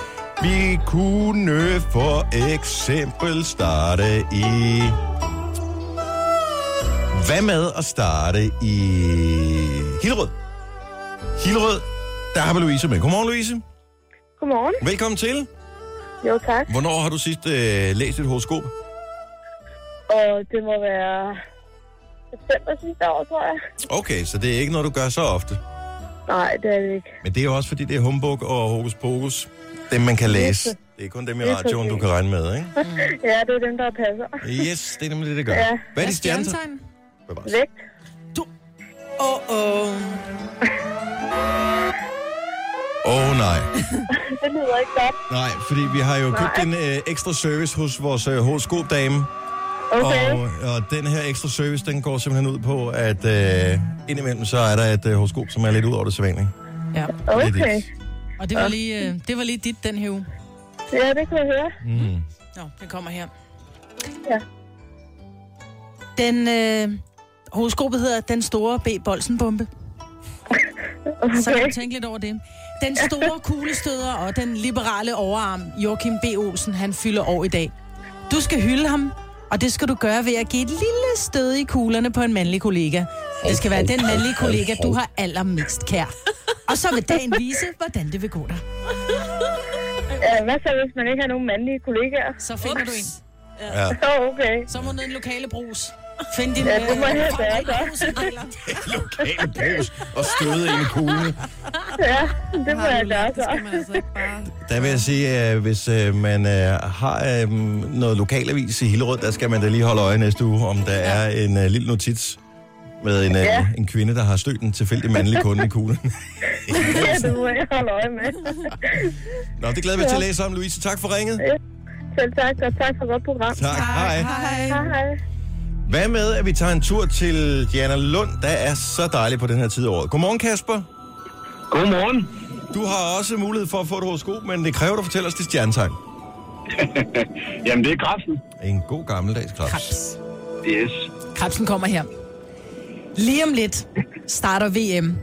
Speaker 1: Vi kunne for eksempel starte i Hvad med at starte i Hillerød? Hillerød, der har vi Louise med. Godmorgen, Louise.
Speaker 7: Godmorgen.
Speaker 1: Velkommen til.
Speaker 7: Jo, tak.
Speaker 1: Hvornår har du sidst øh, læst et horoskop?
Speaker 7: Og det må være september sidste år, tror jeg.
Speaker 1: Okay, så det er ikke noget, du gør så ofte.
Speaker 7: Nej, det er det ikke.
Speaker 1: Men det er jo også, fordi det er humbug og hokus pokus. Dem, man kan læse. Det er kun dem i radioen, du kan regne med, ikke?
Speaker 7: Ja, det er dem, der passer.
Speaker 1: Yes, det er nemlig det, det gør.
Speaker 7: Ja.
Speaker 1: Hvad er dit stjernetegn? Bevares.
Speaker 7: Vægt.
Speaker 3: Åh, åh.
Speaker 1: Åh oh, nej.
Speaker 7: Det lyder ikke godt.
Speaker 1: Nej, fordi vi har jo købt en øh, ekstra service hos vores øh, horoskopdame.
Speaker 7: Okay.
Speaker 1: Og, øh, og den her ekstra service, den går simpelthen ud på, at øh, indimellem så er der et øh, horoskop, som er lidt ud over det sædvanlige.
Speaker 3: Ja,
Speaker 7: Okay.
Speaker 3: og det var, lige, øh, det var lige dit den her uge.
Speaker 7: Ja, det kan jeg høre.
Speaker 1: Mm.
Speaker 3: Nå, den kommer her.
Speaker 7: Ja.
Speaker 3: Den øh, horoskopet hedder Den Store B. Bolsenbombe. Okay. Så kan du tænke lidt over det. Den store kuglestøder og den liberale overarm, Joachim B. Olsen, han fylder år i dag. Du skal hylde ham, og det skal du gøre ved at give et lille stød i kuglerne på en mandlig kollega. Det skal være den mandlige kollega, du har allermest kær. Og så vil dagen vise, hvordan det vil gå dig.
Speaker 7: Ja, hvad så, hvis man ikke har nogen mandlige kollegaer?
Speaker 3: Så finder du en.
Speaker 1: Ja.
Speaker 7: Så okay.
Speaker 3: Så må du ned i en lokale brus. Find din...
Speaker 7: Ja, det må
Speaker 3: øh,
Speaker 7: jeg da
Speaker 3: lokale
Speaker 7: gøre.
Speaker 3: brusedealer.
Speaker 1: Lokale brus og støde i en kugle.
Speaker 7: Ja, det må
Speaker 4: Har
Speaker 7: jeg
Speaker 4: du
Speaker 7: gøre
Speaker 4: lært, det
Speaker 7: så.
Speaker 4: skal man altså ikke bare...
Speaker 1: Der vil jeg sige, at hvis øh, man øh, har øh, noget lokalavis i Hillerød, der skal man da lige holde øje næste uge, om der er en øh, lille notits med en, øh,
Speaker 7: Ja.
Speaker 1: en kvinde, der har stødt en tilfældig mandlig kunde i kuglen.
Speaker 7: Ja, det må jeg holde øje med.
Speaker 1: Nå, det glæder vi til at læse om, Louise. Tak for ringet.
Speaker 7: Selv tak, og tak for godt program.
Speaker 1: Tak. Hej. Hej.
Speaker 7: Hej, hej.
Speaker 1: Hvad med, at vi tager en tur til Diana Lund, der er så dejlig på den her tid af året. Godmorgen, Kasper.
Speaker 8: Godmorgen.
Speaker 1: Du har også mulighed for at få et horoskop, men det kræver, at du fortæller os dit stjernetegn.
Speaker 8: Jamen, det er kraften.
Speaker 1: En god gammeldags krebs.
Speaker 3: Krebs.
Speaker 8: Yes.
Speaker 3: Krebsen kommer her. Lige om lidt starter VM.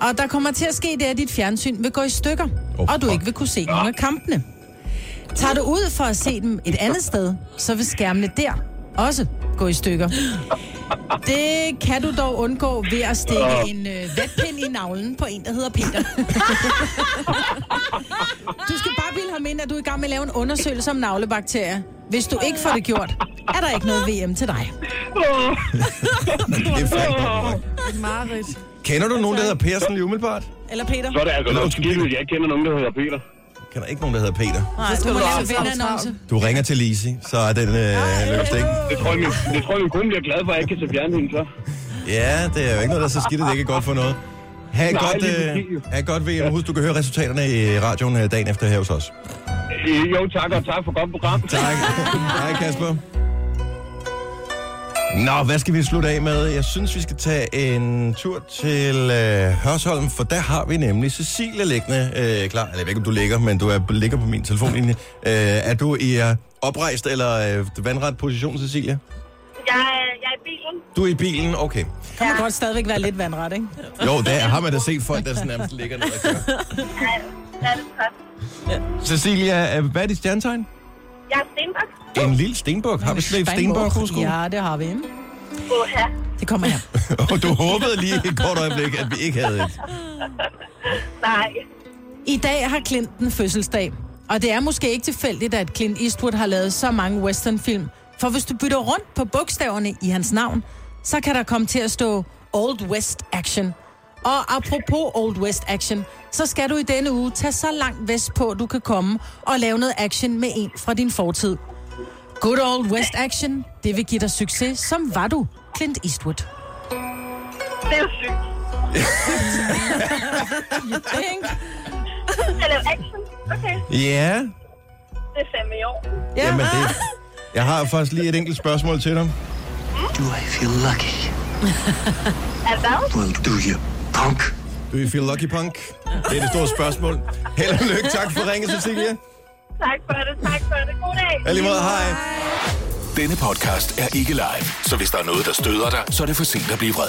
Speaker 3: Og der kommer til at ske det, at dit fjernsyn vil gå i stykker.
Speaker 1: Åh,
Speaker 3: og du
Speaker 1: fuck.
Speaker 3: ikke vil kunne se nogen af kampene. Tager du ud for at se dem et andet sted, så vil skærmene der også gå i stykker. Det kan du dog undgå ved at stikke en øh, vatpind i navlen på en, der hedder Peter. Du skal bare bilde ham ind, at du er i gang med at lave en undersøgelse om navlebakterier. Hvis du ikke får det gjort, er der ikke noget VM til dig.
Speaker 1: Det er fandme godt nok.
Speaker 4: Marit.
Speaker 1: Kender du nogen, der hedder Persen lige umiddelbart?
Speaker 3: Eller Peter?
Speaker 8: Så er det altså
Speaker 1: Nå,
Speaker 8: noget
Speaker 1: undskyld,
Speaker 8: skidt,
Speaker 1: Peter.
Speaker 8: at jeg ikke kender nogen, der hedder Peter.
Speaker 1: Kender ikke nogen, der hedder Peter.
Speaker 3: Nej, så skal du lave en venneannonce.
Speaker 1: Du ringer til Lise, så er den øh, løst, ikke?
Speaker 8: Det tror jeg, min, det tror jeg, min kone bliver glad for, at jeg ikke kan se fjernsyn så.
Speaker 1: Ja, det er jo ikke noget, der er så skidt, at det ikke er godt for noget. Ha' et
Speaker 8: Nej,
Speaker 1: godt,
Speaker 8: lige præcis,
Speaker 1: øh,
Speaker 8: jo.
Speaker 1: ha' et godt VM. Husk, du kan høre resultaterne i radioen øh, dagen efter her hos os.
Speaker 8: Øh, Jo, tak, og tak for godt program.
Speaker 1: Tak. Hej, Kasper. Nå, hvad skal vi slutte af med? Jeg synes, vi skal tage en tur til øh, Hørsholm, for der har vi nemlig Cecilia liggende øh, klar. Eller jeg ved ikke, om du ligger, men du er, ligger på min telefonlinje. Øh, er du i øh, oprejst eller øh, vandret position, Cecilia?
Speaker 7: Jeg, er- jeg er i bilen.
Speaker 1: Du er i bilen, okay.
Speaker 3: Kan man godt stadigvæk være lidt vandret, ikke?
Speaker 1: Jo, der har man da set folk, der sådan nærmest ligger ned og kører.
Speaker 7: Ja, det er det godt.
Speaker 1: Cecilia, øh, hvad er dit stjernetegn?
Speaker 7: Jeg er stenbok.
Speaker 1: En lille stenbuk. Har vi slet ikke stenbuk, husk?
Speaker 3: Ja, det har vi.
Speaker 7: Åh, her.
Speaker 3: Det kommer her.
Speaker 1: Og du håbede lige et kort øjeblik, at vi ikke havde et.
Speaker 7: Nej.
Speaker 3: I dag har Clinton fødselsdag. Og det er måske ikke tilfældigt, at Clint Eastwood har lavet så mange westernfilm. For hvis du bytter rundt på bogstaverne i hans navn, så kan der komme til at stå Old West Action. Og apropos Old West Action, så skal du i denne uge tage så langt vest på, du kan komme og lave noget action med en fra din fortid. Good Old West Action, det vil give dig succes, som var du, Clint Eastwood.
Speaker 7: Det er jo sygt.
Speaker 3: Ikke?
Speaker 7: Jeg laver action. Okay,
Speaker 1: Ja,
Speaker 7: det er fandme i år.
Speaker 1: Jamen, det... Jeg har faktisk lige et enkelt spørgsmål til dig.
Speaker 6: Do I feel lucky?
Speaker 7: Er det
Speaker 6: Well, do you, punk?
Speaker 1: Do you feel lucky, punk? Det er det store spørgsmål. Held og lykke. Tak for ringet, Cecilia.
Speaker 7: Tak for det, tak for det. God dag.
Speaker 1: Alligevel, hej.
Speaker 6: Denne podcast er ikke live, så hvis der er noget, der støder dig, så er det for sent at blive vred.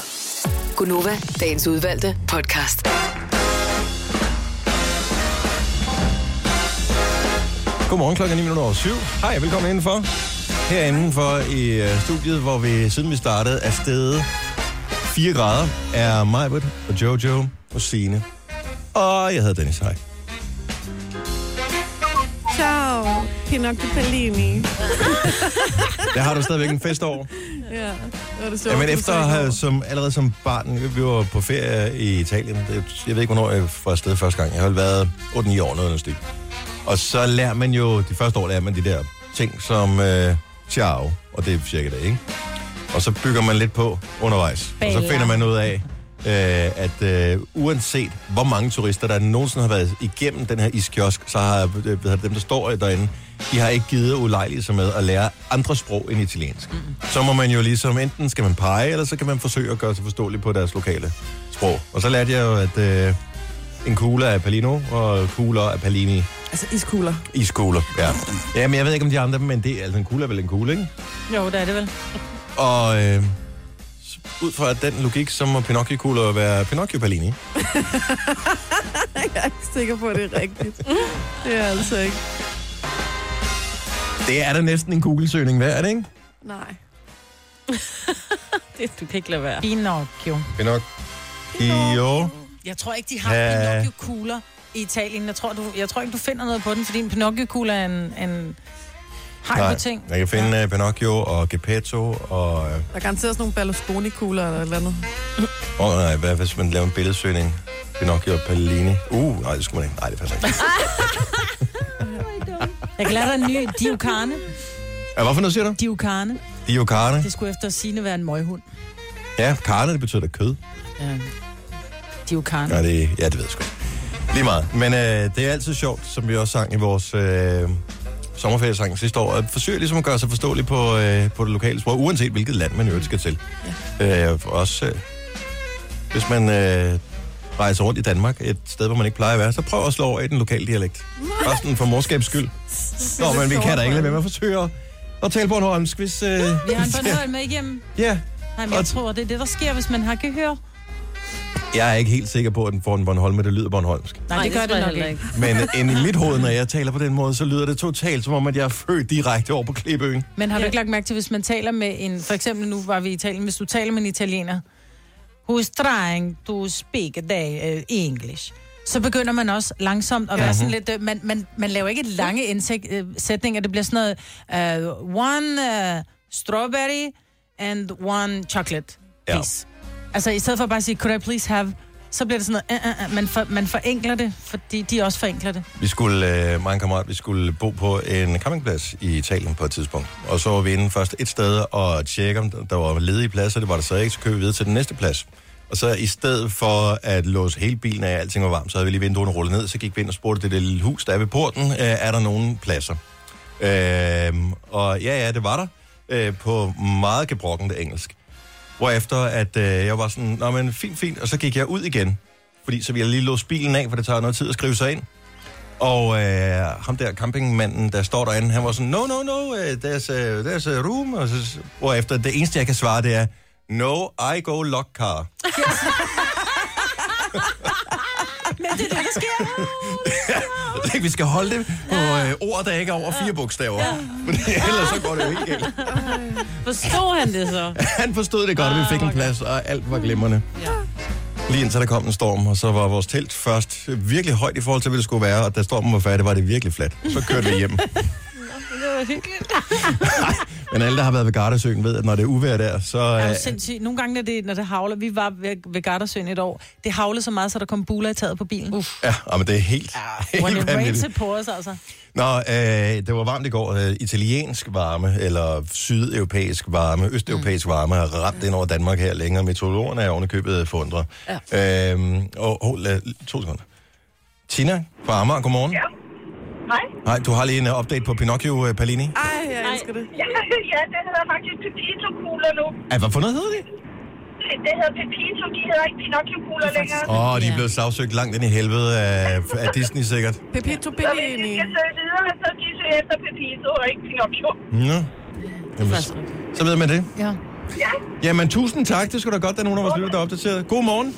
Speaker 5: Gunova, dagens udvalgte podcast.
Speaker 1: Godmorgen klokken 9 minutter over syv. Hej, velkommen indenfor. herinde for i øh, studiet, hvor vi, siden vi startede, er stedet 4 grader, er Majbert og Jojo og Sine. Og jeg hedder Dennis Hej.
Speaker 4: Ciao, Pinocchio Pellini.
Speaker 1: Der har du stadigvæk en fest over.
Speaker 4: Ja, det var det sjovt.
Speaker 1: Jamen
Speaker 4: du
Speaker 1: efter
Speaker 4: sagde i
Speaker 1: at have,
Speaker 4: går.
Speaker 1: som, allerede som barn, vi var på ferie i Italien. Det- Jeg ved ikke, hvornår jeg var afsted første gang. Jeg har vel været 8-9 år, noget af den stik. Og så lærer man jo, de første år lærer man de der ting som øh, ciao, og det er cirka det, ikke? Og så bygger man lidt på undervejs. Og så
Speaker 3: Baller.
Speaker 1: finder man ud af, øh, at øh, uanset hvor mange turister, der nogensinde har været igennem den her iskiosk, så har øh, hvad hedder det, dem, der står derinde, de har ikke givet ulejlige sig med at lære andre sprog end italiensk. Mm-hmm. Så må man jo ligesom, enten skal man pege, eller så kan man forsøge at gøre sig forståelig på deres lokale sprog. Og så lærte jeg jo, at øh, en kugle er Palino, og kugler er Palini.
Speaker 4: Altså iskugler.
Speaker 1: Iskugler, ja. Jamen, jeg ved ikke om de andre, men det er altså en kugle er vel en kugle, ikke?
Speaker 3: Jo, det er det vel.
Speaker 1: Og øh, s- ud fra den logik, så må Pinocchio-kugler være Pinocchio-Palini.
Speaker 4: Jeg er ikke sikker på, at det er rigtigt. Det er altså ikke.
Speaker 1: Det er da næsten en Google-søgning værd, er det ikke?
Speaker 4: Nej.
Speaker 2: Det, du kan ikke lade være.
Speaker 3: Pinocchio.
Speaker 1: Pinocchio.
Speaker 3: Jeg tror ikke, de har
Speaker 1: Ja.
Speaker 3: Pinocchio-kugler i Italien. Jeg tror, du, jeg tror ikke, du finder noget på den, fordi en Pinocchio-kugle er en, en hej på ting.
Speaker 1: jeg kan finde uh, Pinocchio og Geppetto og... øh,
Speaker 4: Der er garanteret sådan nogle Berlusconi-kugler eller et eller andet.
Speaker 1: Åh oh, nej, hvad hvis man laver en billedsøgning? Pinocchio og Palini. Uh, nej, det skulle man ikke. Nej, det passer ikke.
Speaker 3: Jeg kan lære dig en ny Diocane.
Speaker 1: Ja, hvorfor noget siger du?
Speaker 3: Diocane.
Speaker 1: Dio carne.
Speaker 3: Det skulle efter sine være en møghund.
Speaker 1: Ja, carne, det betyder da kød.
Speaker 3: Ja. Diocane.
Speaker 1: Nej, det, ja, det ved jeg sgu ikke. Lige meget. Men øh, det er altid sjovt, som vi også sang i vores øh, sommerferiesang sidste år, at forsøge ligesom at gøre sig forståelig på, øh, på det lokale sprog, uanset hvilket land man i øvrigt skal til. Ja. Øh, for også øh, hvis man øh, rejser rundt i Danmark, et sted, hvor man ikke plejer at være, så prøv at slå over i den lokale dialekt. Bare sådan for morskabs skyld. Nå, men vi kan da ikke lade være med at forsøge at- at tale Bornholmsk, hvis... Øh,
Speaker 3: Vi har en Bornholm med igennem.
Speaker 1: ja.
Speaker 3: Nej, men jeg tror, det er det, der sker, hvis man har gehør.
Speaker 1: Jeg er ikke helt sikker på, at den får en Bornholm, det lyder Bornholmsk.
Speaker 3: Nej, det gør det, nok ikke.
Speaker 1: Men ind i mit hoved, når jeg taler på den måde, så lyder det totalt som om, at jeg er født direkte over på Klippeøen.
Speaker 3: Men har du ikke lagt mærke til, hvis man taler med en... For eksempel nu var vi i Italien. Hvis du taler med en italiener. Who's trying to speak the, uh, English? Så begynder man også langsomt at være sådan lidt... øh, Man, man, man laver ikke et lange indsæt, uh, sætninger. Det bliver sådan noget... Uh, one uh, strawberry and one chocolate.
Speaker 1: Ja.
Speaker 3: Please. Altså i stedet for bare at sige, could I please have... Så bliver det sådan noget... Uh, uh, uh. Man, for, man forenkler det, fordi de også forenkler det.
Speaker 1: Vi skulle, øh, mig og en kammerat, vi skulle bo på en campingplads i Italien på et tidspunkt. Og så var vi inde først et sted og tjekke, om der var ledige pladser. Det var der så ikke, så købte vi videre til den næste plads. Og så i stedet for at låse hele bilen af, alting var varmt, så havde vi lige vinduerne rullet ned, så gik vi ind og spurgte det der lille hus, der er ved porten, øh, er der nogen pladser? Øhm, og ja, ja, det var der. Øh, på meget gebrokkende engelsk. Hvorefter at øh, jeg var sådan, nå men fint, fint. Og så gik jeg ud igen. Fordi så ville jeg lige låse bilen af, for det tager noget tid at skrive sig ind. Og øh, ham der campingmanden, der står derinde, han var sådan, no, no, no, øh, there's a, there's a room. Og så, hvorefter det eneste, jeg kan svare, det er, no, I go lock car.
Speaker 3: Men det er det, der sker.
Speaker 1: Jeg tænkte, vi skal holde det på øh, ord, der ikke er over fire bogstaver. Men ellers så går det jo ikke galt.
Speaker 2: Forstår han det så?
Speaker 1: Han forstod det godt, at vi fik en plads, og alt var glimrende. Lige indtil der kom en storm, og så var vores telt først virkelig højt i forhold til, hvad det skulle være, og da stormen var færdig, var det virkelig fladt. Så kørte vi hjem.
Speaker 2: Det var hyggeligt.
Speaker 1: Men alle, der har været ved Gardasøen, ved, at når det er uvejr der, så...
Speaker 3: Er
Speaker 1: Øh,
Speaker 3: du sindssyg? Nogle gange, når det, når det havler, vi var ved, ved Gardersøen et år, det havlede så meget, så der kom buler i taget på bilen. Uff,
Speaker 1: ja, ah, men det er helt,
Speaker 3: when
Speaker 1: helt
Speaker 3: it rains,
Speaker 1: vanvittigt.
Speaker 3: it pours, altså.
Speaker 1: Nå, øh, det var varmt i går. Øh, italiensk varme, eller sydeuropæisk varme, østeuropæisk mm. varme, har ramt ind over Danmark her længere. Meteorologerne er ovenikøbet øh, forundret. Ja. Øhm, og, og, lad, to sekunder. Tina fra Amager, godmorgen. Ja.
Speaker 7: Hej.
Speaker 1: Hej, du har lige en øh, update på Pinocchio øh, Palini.
Speaker 4: Ej, jeg elsker det.
Speaker 7: Ja, ja det hedder faktisk Pepito-kugler nu.
Speaker 1: Ej, Ah, hvad for noget hedder det?
Speaker 7: Det hedder Pepito, de hedder ikke Pinocchio-kugler længere.
Speaker 1: Åh, oh, de er blevet sagsøgt langt ind i helvede af, af Disney sikkert.
Speaker 4: Pepito
Speaker 7: Så hvis de
Speaker 4: Pellini.
Speaker 7: skal søge videre, så de søger efter Pepito og ikke Pinocchio.
Speaker 1: Nå. Jamen,
Speaker 2: faktisk
Speaker 1: så ved man det.
Speaker 3: Ja.
Speaker 1: Jamen, tusind tak. Det skulle da godt, at nogen af os lytter, der er opdateret. God morgen.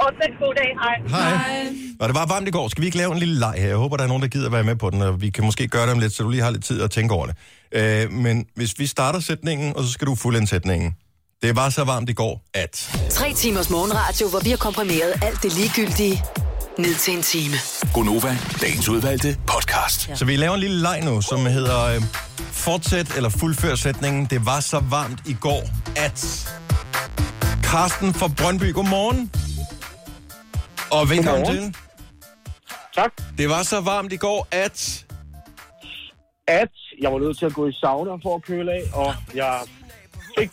Speaker 7: Fortsat god dag. Hej.
Speaker 1: Hej. Og det var varmt i går. Skal vi ikke lave en lille leg her? Jeg håber, der er nogen, der gider være med på den, og vi kan måske gøre det om lidt, så du lige har lidt tid at tænke over det. Øh, men hvis vi starter sætningen, og så skal du fuldende sætningen. Det var så varmt i går, at...
Speaker 5: Tre timers morgenradio, hvor vi har komprimeret alt det ligegyldige ned til en time.
Speaker 6: Gonova, dagens udvalgte podcast.
Speaker 1: Så vi laver en lille leg nu, som hedder øh, fortsæt eller fuldfør sætningen. Det var så varmt i går, at... Karsten fra Brøndby, godmorgen. Og velkommen
Speaker 8: Godmorgen.
Speaker 1: til.
Speaker 8: Tak.
Speaker 1: Det var så varmt i går, at...
Speaker 8: At jeg var nødt til at gå i sauna for at køle af, og jeg fik,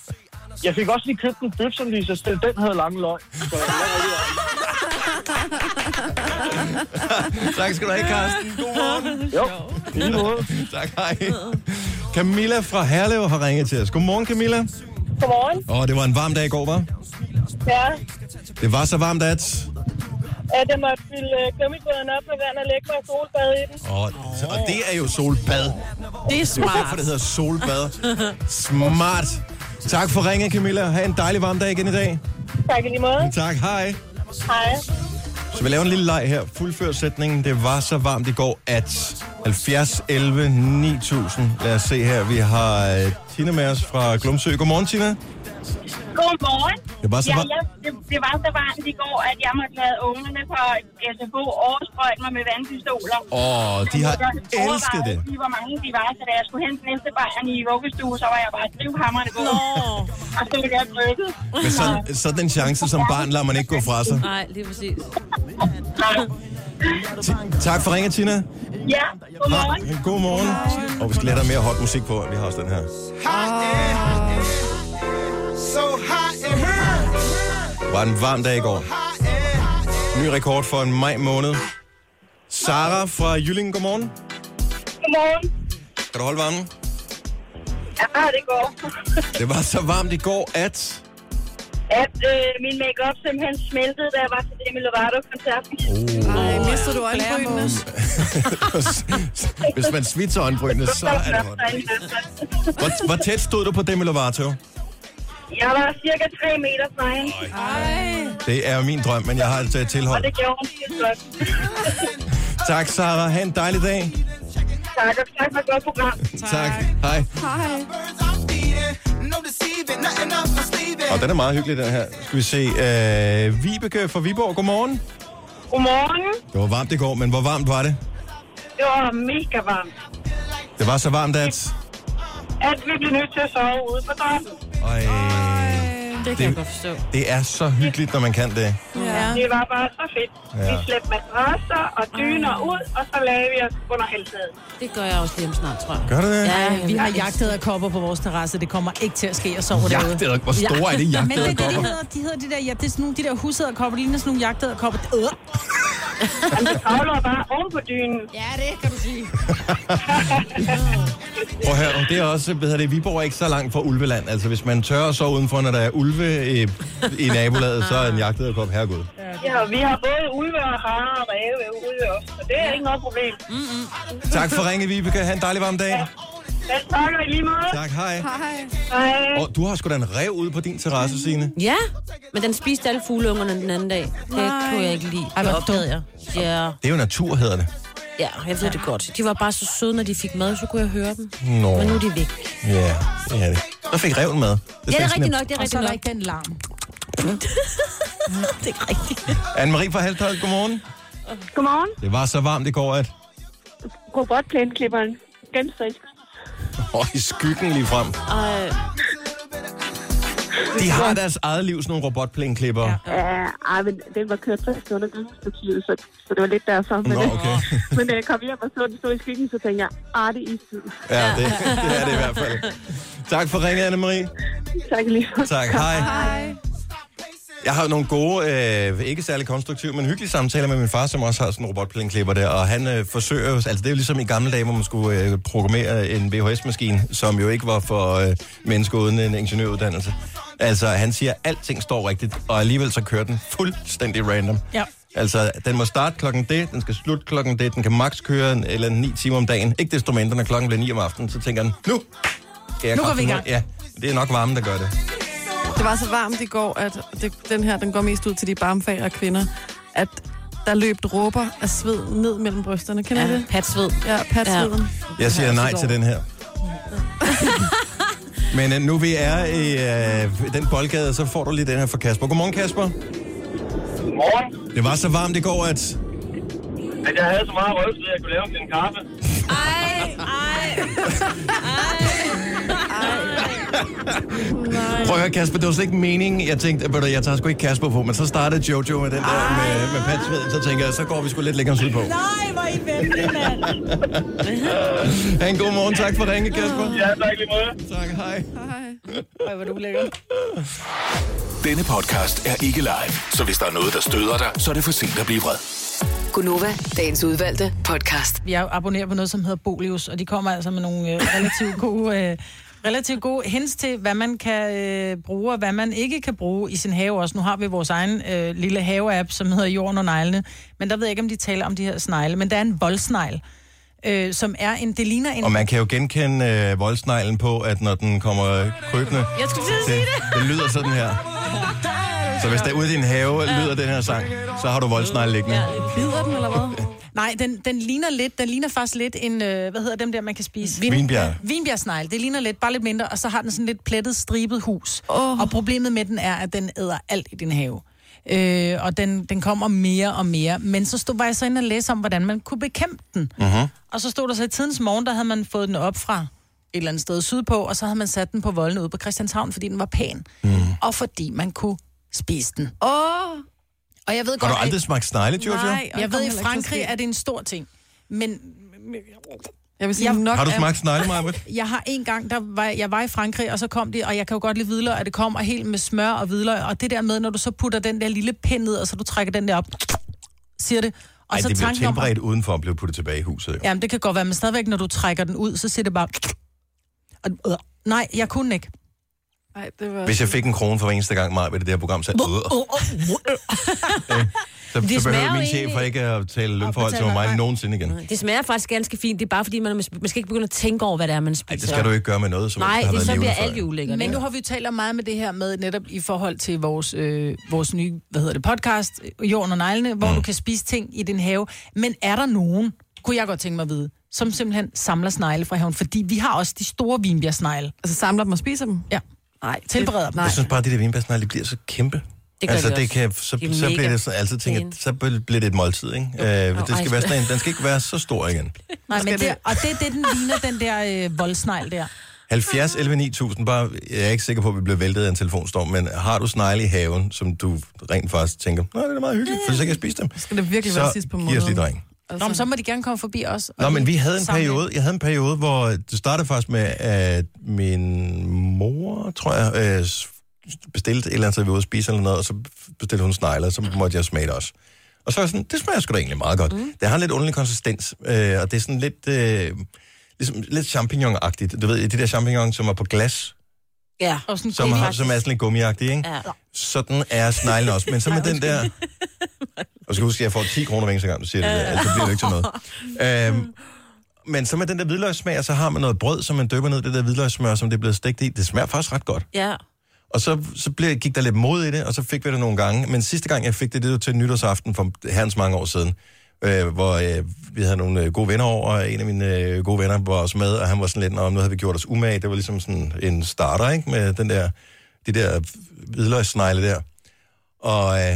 Speaker 8: jeg fik også lige købt en bøf, som lige så stille. Den havde lange løg. Så jeg var lige-
Speaker 1: Tak skal du have, Karsten. Godmorgen.
Speaker 8: jo, i lige måde.
Speaker 1: Tak, hej. Camilla fra Herlev har ringet til os. Godmorgen, Camilla.
Speaker 7: Godmorgen.
Speaker 1: Åh, det var en varm dag i går, var?
Speaker 7: Ja,
Speaker 1: Det var så varmt, at...
Speaker 7: at jeg måtte fylde øh, gummibåden op med vand og lægge mig i solbad i den.
Speaker 1: Åh, og det er jo solbad.
Speaker 2: Det er
Speaker 1: Det er jo derfor,
Speaker 2: smart.
Speaker 1: det hedder solbad. Smart. Tak for ringet, Camilla. Ha' en dejlig varm dag igen i dag.
Speaker 7: Tak i lige måde.
Speaker 1: Tak, hej.
Speaker 7: Hej.
Speaker 1: Så vi laver en lille leg her. Fuldfør sætningen. Det var så varmt i går, at 70, 11, 9000. Lad os se her. Vi har øh, Tina med os fra Glumsø. Godmorgen, Tina.
Speaker 7: Godmorgen.
Speaker 1: Det var så
Speaker 7: Ja,
Speaker 1: varmt.
Speaker 7: jeg, det, det var så varmt i går, at jeg måtte lade ungerne på SFO oversprøjte mig med vandpistoler.
Speaker 1: Åh, de har elsket det.
Speaker 7: De var mange, de var, så da jeg skulle hente næste barn i vuggestue, så var jeg bare drivhammerne på. Og så ville jeg brygge.
Speaker 1: Men sådan, sådan en chance som barn lader man ikke gå fra sig.
Speaker 2: Nej, lige præcis.
Speaker 1: Ti- tak for ringet, Tina.
Speaker 7: Ja, godmorgen.
Speaker 1: Hej. God morgen. Og vi skal lade mere hot musik på. Vi har også den her. Det var en varm dag i går. Ny rekord for en maj måned. Sara fra Jylling, godmorgen.
Speaker 7: Godmorgen.
Speaker 1: Kan du holde varmen?
Speaker 7: Ja, det går.
Speaker 1: Det var så varmt i går, at...
Speaker 7: At øh, min makeup simpelthen smeltede, da jeg var til Demi Lovato-koncerten.
Speaker 1: Oh,
Speaker 4: Nej, mister du øjenbrynene?
Speaker 1: Hvis man svitser øjenbrynene, så er det hot. Hvor, hvor tæt stod du på Demi Lovato?
Speaker 7: Jeg var cirka 3 meter fra hende,
Speaker 1: Det er min drøm, men jeg har altså et
Speaker 7: og
Speaker 1: tilhold.
Speaker 7: det gjorde hun skide flot.
Speaker 1: Tak, Sara. Ha' en dejlig dag.
Speaker 7: Tak, og tak for et godt program.
Speaker 1: Tak. tak. Hej.
Speaker 4: Hej.
Speaker 1: Og den er meget hyggelig, den her. Skal vi se. Øh, Vibeke fra Viborg, godmorgen.
Speaker 7: Godmorgen.
Speaker 1: Det var varmt i går, men hvor varmt var det?
Speaker 7: Det var mega varmt.
Speaker 1: Det var så varmt, at...
Speaker 7: At vi blev nødt til at sove ude på trappen.
Speaker 1: Øj,
Speaker 2: Det kan
Speaker 1: Det-
Speaker 2: jeg godt forstå.
Speaker 1: det er så hyggeligt, når man kan det.
Speaker 4: Ja.
Speaker 7: Det var bare så fedt.
Speaker 1: Ja.
Speaker 7: Ja. Vi slæbte madrasser og dyner ud, og så lagde vi os under halvtaget.
Speaker 2: Det gør jeg også lige om snart, tror jeg.
Speaker 1: Gør det det?
Speaker 2: Ja,
Speaker 3: Vi har jagtet af kopper på vores terrasse. Det kommer ikke til at ske, og sover derude.
Speaker 1: Jagtæder. Hvor store er det
Speaker 3: Men det er det, de
Speaker 1: jagtæderkopper?
Speaker 3: hedder. De hedder de der, ja, det er sådan nogle, de der husæderkopper. De ligner sådan nogle jagtæderkopper. Øh.
Speaker 7: Men vi kravlede bare oven på dynen.
Speaker 3: Ja, det kan du sige.
Speaker 1: Prøv at høre, det er også, hvad hedder det, Viborg er ikke så langt fra Ulveland. Altså, hvis man tør at sove udenfor, når der er ulve i, i nabolaget, så er en jagtæderkop herregud.
Speaker 7: Ja, vi har både ulve og harer og ræve ude også, så det er ikke noget problem.
Speaker 1: Tak for ringe, Vibeke. Ha' en dejlig varm dag.
Speaker 7: Men tak og i lige måde.
Speaker 1: Tak, hej.
Speaker 4: Hej.
Speaker 7: Hej.
Speaker 1: Og du har sgu da en rev ude på din terrasse, Signe.
Speaker 2: Ja, men den spiste alle fugleungerne den anden dag. Det Nej. kunne jeg ikke lide. Ej, det opdagede jeg. Ja,
Speaker 1: Det er jo natur, hedder det.
Speaker 2: ja, jeg ved det godt. De var bare så søde, når de fik mad, så kunne jeg høre dem.
Speaker 1: Nå.
Speaker 2: Men nu er de væk.
Speaker 1: Ja, det er det. Der fik reven med.
Speaker 2: Ja, det
Speaker 1: fik
Speaker 2: er
Speaker 1: sådan en-
Speaker 2: rigtigt nok, det er
Speaker 3: Og så
Speaker 2: rigtigt
Speaker 3: er der
Speaker 2: nok.
Speaker 3: ikke den larm.
Speaker 2: Det er rigtigt.
Speaker 1: Anne-Marie fra Halvtøjet, godmorgen.
Speaker 7: Godmorgen.
Speaker 1: Det var så varmt i går, at...
Speaker 7: Robotplæneklipperen. Genstrisk.
Speaker 1: Åh, i skyggen lige frem.
Speaker 2: Ej,
Speaker 1: De har deres eget liv, sådan nogle robotplænklipper. Ja.
Speaker 7: Ja, ej, men den var kørt 3 stunder gangstativet, så, så det var lidt derfor. Men,
Speaker 1: Nå, okay.
Speaker 7: men da jeg kom hjem og så den stod i skyggen, så tænkte jeg, ah, det er istid.
Speaker 1: Ja, det, det er det i hvert fald. Tak for ringet, Anne-Marie.
Speaker 7: Tak lige for.
Speaker 1: Tak, hej. Jeg har jo nogle gode, øh, ikke særlig konstruktive, men hyggelige samtaler med min far, som også har sådan en robotplænklipper der, og han øh, forsøger, jo- altså det er jo ligesom i gamle dage, hvor man skulle øh, programmere en VHS-maskine, som jo ikke var for øh, mennesker uden en ingeniøruddannelse. Altså, han siger, at alting står rigtigt, og alligevel så kører den fuldstændig random.
Speaker 3: Ja.
Speaker 1: Altså, den må starte klokken det, den skal slutte klokken det, den kan maks køre en, eller 9 timer om dagen. Ikke desto mindre, når klokken bliver 9 om aftenen, så tænker han, nu skal jeg
Speaker 3: Nu går vi i
Speaker 1: kraftigt-
Speaker 3: gang.
Speaker 1: Ja, det er nok varmen, der gør det.
Speaker 4: det var så varmt i går, at det, den her, den går mest ud til de barmfag og kvinder, at der løb dråber af sved ned mellem brysterne. Kender ja.
Speaker 2: Ja,
Speaker 4: det?
Speaker 2: patsved.
Speaker 4: Ja, patsveden. Ja.
Speaker 1: Jeg siger nej til den her. Men øh, nu vi er i øh, den boldgade, så får du lige den her fra Kasper. Godmorgen, Kasper.
Speaker 8: Morgen,
Speaker 1: Det var så varmt i går, at...
Speaker 8: at jeg havde så meget røvsved, at jeg kunne lave en kaffe.
Speaker 1: Prøv at høre, Kasper, det var slet ikke meningen. Jeg tænkte, at ved du, jeg tager sgu ikke Kasper på, men så startede Jojo med den der med, med patsveden. Så tænker jeg, så går vi sgu lidt længere syd på.
Speaker 3: Nej, hvor er I venlige, mand.
Speaker 1: Ha' en god morgen. Tak for at ringe, Kasper.
Speaker 8: Ja, tak lige måde.
Speaker 1: Tak, hej.
Speaker 3: Ej, hvor er du lækker.
Speaker 6: Denne podcast er ikke live, så hvis der er noget, der støder dig, så er det for sent at blive vred.
Speaker 5: Gunova, dagens udvalgte podcast.
Speaker 3: Jeg abonnerer på noget, som hedder Bolius, og de kommer altså med nogle øh, relativt gode... Øh, relativt gode hints til, hvad man kan øh, bruge, og hvad man ikke kan bruge i sin have også. Nu har vi vores egen øh, lille have-app, som hedder Jorden og Neglene, men der ved jeg ikke, om de taler om de her snegle, men der er en voldsnegl, øh, som er en... Det ligner en...
Speaker 1: Og man kan jo genkende øh, voldsneglen på, at når den kommer krybende...
Speaker 2: Jeg skulle til at sige det.
Speaker 1: det lyder sådan her. Så hvis der ude i din have lyder den her sang, så har du voldsneglen liggende.
Speaker 4: Bider den, eller hvad?
Speaker 3: Nej, den, den ligner lidt, den ligner faktisk lidt en, øh, hvad hedder dem der, man kan spise? Vin,
Speaker 1: Vinbjerg.
Speaker 3: Vinbjergsnegl, det ligner lidt, bare lidt mindre, og så har den sådan lidt plettet, stribet hus. Oh. Og problemet med den er, at den æder alt i din have. Øh, og den, den kommer mere og mere. Men så stod, var jeg så inde og læse om, hvordan man kunne bekæmpe den.
Speaker 1: Mhm.
Speaker 3: Uh-huh. Og så stod der så i tidens morgen, der havde man fået den op fra et eller andet sted sydpå, og så havde man sat den på voldene ude på Christianshavn, fordi den var pæn.
Speaker 1: Mhm.
Speaker 3: Mm. Og fordi man kunne spise den.
Speaker 4: Åh, oh,
Speaker 3: Og jeg ved godt,
Speaker 1: Har du
Speaker 3: at-
Speaker 1: aldrig smagt snegle, Jojo?
Speaker 4: nej. og
Speaker 3: jeg
Speaker 4: kom
Speaker 3: ved, i
Speaker 4: heller ikke til
Speaker 3: Frankrig
Speaker 4: at ske.
Speaker 3: er det en stor ting. Men
Speaker 4: Jeg vil sige,
Speaker 3: Jeg-
Speaker 4: nok
Speaker 1: Har du
Speaker 4: er-
Speaker 1: smagt snegle, Marbet?
Speaker 3: jeg har en gang, der var, jeg var i Frankrig, og så kom de, og jeg kan jo godt lide hvidløg, at det kommer helt med smør og hvidløg, og det der med, når du så putter den der lille pind ned, og så du trækker den der op, siger det, og
Speaker 1: Ej,
Speaker 3: så
Speaker 1: det blev
Speaker 3: tanken om,
Speaker 1: tilberedt udenfor og blev puttet tilbage i huset. Jo.
Speaker 3: jamen det kan godt være, men stadigvæk, når du trækker den ud, så siger det bare, og, øh, nej, jeg kunne ikke.
Speaker 4: Ej, det var...
Speaker 1: Hvis jeg fik en krone for hver eneste gang, Marbet, i det her program, så, øh,
Speaker 3: Åh, åh, åh.
Speaker 1: så,
Speaker 2: smager
Speaker 1: så behøver
Speaker 2: jo
Speaker 1: min
Speaker 2: egentlig-
Speaker 1: chef for ikke at tale lønforhold til
Speaker 3: betale
Speaker 1: mig
Speaker 3: mig.
Speaker 1: nogensinde igen. Ej,
Speaker 2: Det smager faktisk ganske fint. Det er bare fordi, man, man skal ikke begynde at tænke over, hvad det er, man spiser.
Speaker 1: det skal du ikke gøre med noget, som
Speaker 2: Nej,
Speaker 1: har
Speaker 2: det
Speaker 1: været
Speaker 2: så
Speaker 1: levende
Speaker 2: bliver
Speaker 1: før,
Speaker 2: alt
Speaker 1: jo.
Speaker 2: jo ulækkert.
Speaker 3: Men
Speaker 2: ikke?
Speaker 3: nu har vi jo talt meget med det her med netop i forhold til vores, øh, vores nye, hvad hedder det, podcast, Jorden og Neglene, hvor mm. du kan spise ting i din have. Men er der nogen, kunne jeg godt tænke mig at vide, som simpelthen samler snegle fra haven? Fordi vi har også de store vinbjergsnegle.
Speaker 4: Altså, samler dem og spiser dem?
Speaker 3: Ja.
Speaker 4: Nej,
Speaker 3: Tilbereder
Speaker 4: det-
Speaker 3: dem.
Speaker 1: Jeg
Speaker 4: Nej.
Speaker 1: synes bare, at det der vinbærsnegle, det bliver så kæmpe.
Speaker 2: Det gør
Speaker 1: altså,
Speaker 2: de
Speaker 1: det
Speaker 2: også.
Speaker 1: kan, så,
Speaker 2: De er
Speaker 1: så bliver
Speaker 2: mega
Speaker 1: det så, altså, tænker, jeg,
Speaker 2: pæne.
Speaker 1: så bliver det et måltid, ikke? Øh, det
Speaker 2: ej,
Speaker 1: skal være sådan en, den skal ikke være så stor igen.
Speaker 3: Nej, men
Speaker 4: Skal
Speaker 3: det,
Speaker 4: det-
Speaker 3: og det er det, den ligner, den der øh, voldsnegl der.
Speaker 1: 70 11 9000, bare, jeg er ikke sikker på, at vi bliver væltet af en telefonstorm, men har du snegle i haven, som du rent faktisk tænker, nej, det er da meget hyggeligt, for så kan jeg spise dem.
Speaker 4: Skal det virkelig være
Speaker 1: Så
Speaker 4: sidst på
Speaker 1: giv os lige
Speaker 4: måneden?
Speaker 1: dreng.
Speaker 3: Nå, men så må de gerne komme forbi os.
Speaker 1: Nå, men vi havde en
Speaker 3: Samle.
Speaker 1: periode, jeg havde en periode, hvor det startede faktisk med, at min mor, tror jeg, øh, s- bestilte et eller andet, så vi var ude at spise eller noget, og så bestilte hun snegler, og så måtte jeg smage det også. Og så var jeg sådan, det smager sgu da egentlig meget godt. Mm. Det har en lidt underlig konsistens, øh, og det er sådan lidt, øh, ligesom, lidt champignon-agtigt. Du ved, de der champignon, som er på glas,
Speaker 2: Ja.
Speaker 3: Og sådan
Speaker 1: som, har,
Speaker 3: har...
Speaker 1: som er sådan lidt gummiagtige, ikke?
Speaker 2: ja.
Speaker 1: Sådan er sneglen også. Men så med den der... Og skal huske, at jeg får 10 kroner hver eneste gang, du siger det der. Altså, det bliver jo ikke til noget. Øhm, men så med den der hvidløgssmag, og så har man noget brød, som man dypper ned i det der hvidløgssmør, som det er blevet stegt i. Det smager faktisk ret godt.
Speaker 2: ja.
Speaker 1: Og så, så blev, gik der lidt mod i det, og så fik vi det nogle gange. Men sidste gang, jeg fik det, det var til nytårsaften for herrens mange år siden, øh, hvor øh, vi havde nogle øh, gode venner over, og en af mine øh, gode venner var også med, og han var sådan lidt, om nu havde vi gjort os umage. Det var ligesom sådan en starter, ikke? Med den der, de der hvidløgssnegle der. Og øh,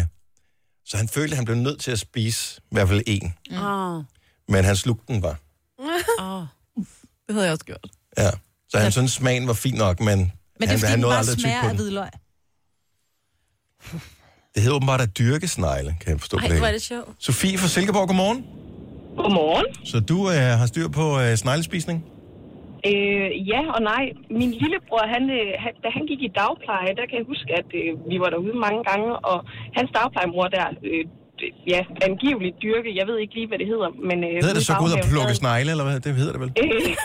Speaker 1: så han følte, at han blev nødt til at spise i hvert fald en.
Speaker 2: Åh.
Speaker 1: Men han slugte den bare.
Speaker 2: Åh.
Speaker 4: Det havde jeg også gjort.
Speaker 1: Ja. Så han synes, smagen var fin nok, men,
Speaker 3: Men det er
Speaker 1: han,
Speaker 3: fordi,
Speaker 1: han
Speaker 3: den
Speaker 1: nåede
Speaker 3: bare
Speaker 1: aldrig at tygge
Speaker 3: smager
Speaker 1: på
Speaker 3: af
Speaker 1: den.
Speaker 3: hvidløg.
Speaker 1: Det hedder åbenbart at dyrke snegle, kan jeg forstå. på
Speaker 2: Ej,
Speaker 1: det
Speaker 2: hvor er
Speaker 1: hele.
Speaker 2: det sjovt.
Speaker 1: Sofie fra Silkeborg, godmorgen.
Speaker 7: Godmorgen.
Speaker 1: Så du øh, har styr på øh, sneglespisning?
Speaker 7: Øh, ja og nej. Min lillebror, han, øh, han, da han gik i dagpleje, der kan jeg huske, at øh, vi var derude mange gange, og hans dagplejemor der, øh, d- ja, angiveligt dyrke, jeg ved ikke lige, hvad det hedder, men... Øh,
Speaker 1: Hedder
Speaker 7: ude
Speaker 1: det
Speaker 7: i
Speaker 1: så gå ud og
Speaker 7: baghaven,
Speaker 1: plukke
Speaker 7: der-
Speaker 1: snegle, eller hvad? Det hedder det vel?
Speaker 7: Øh,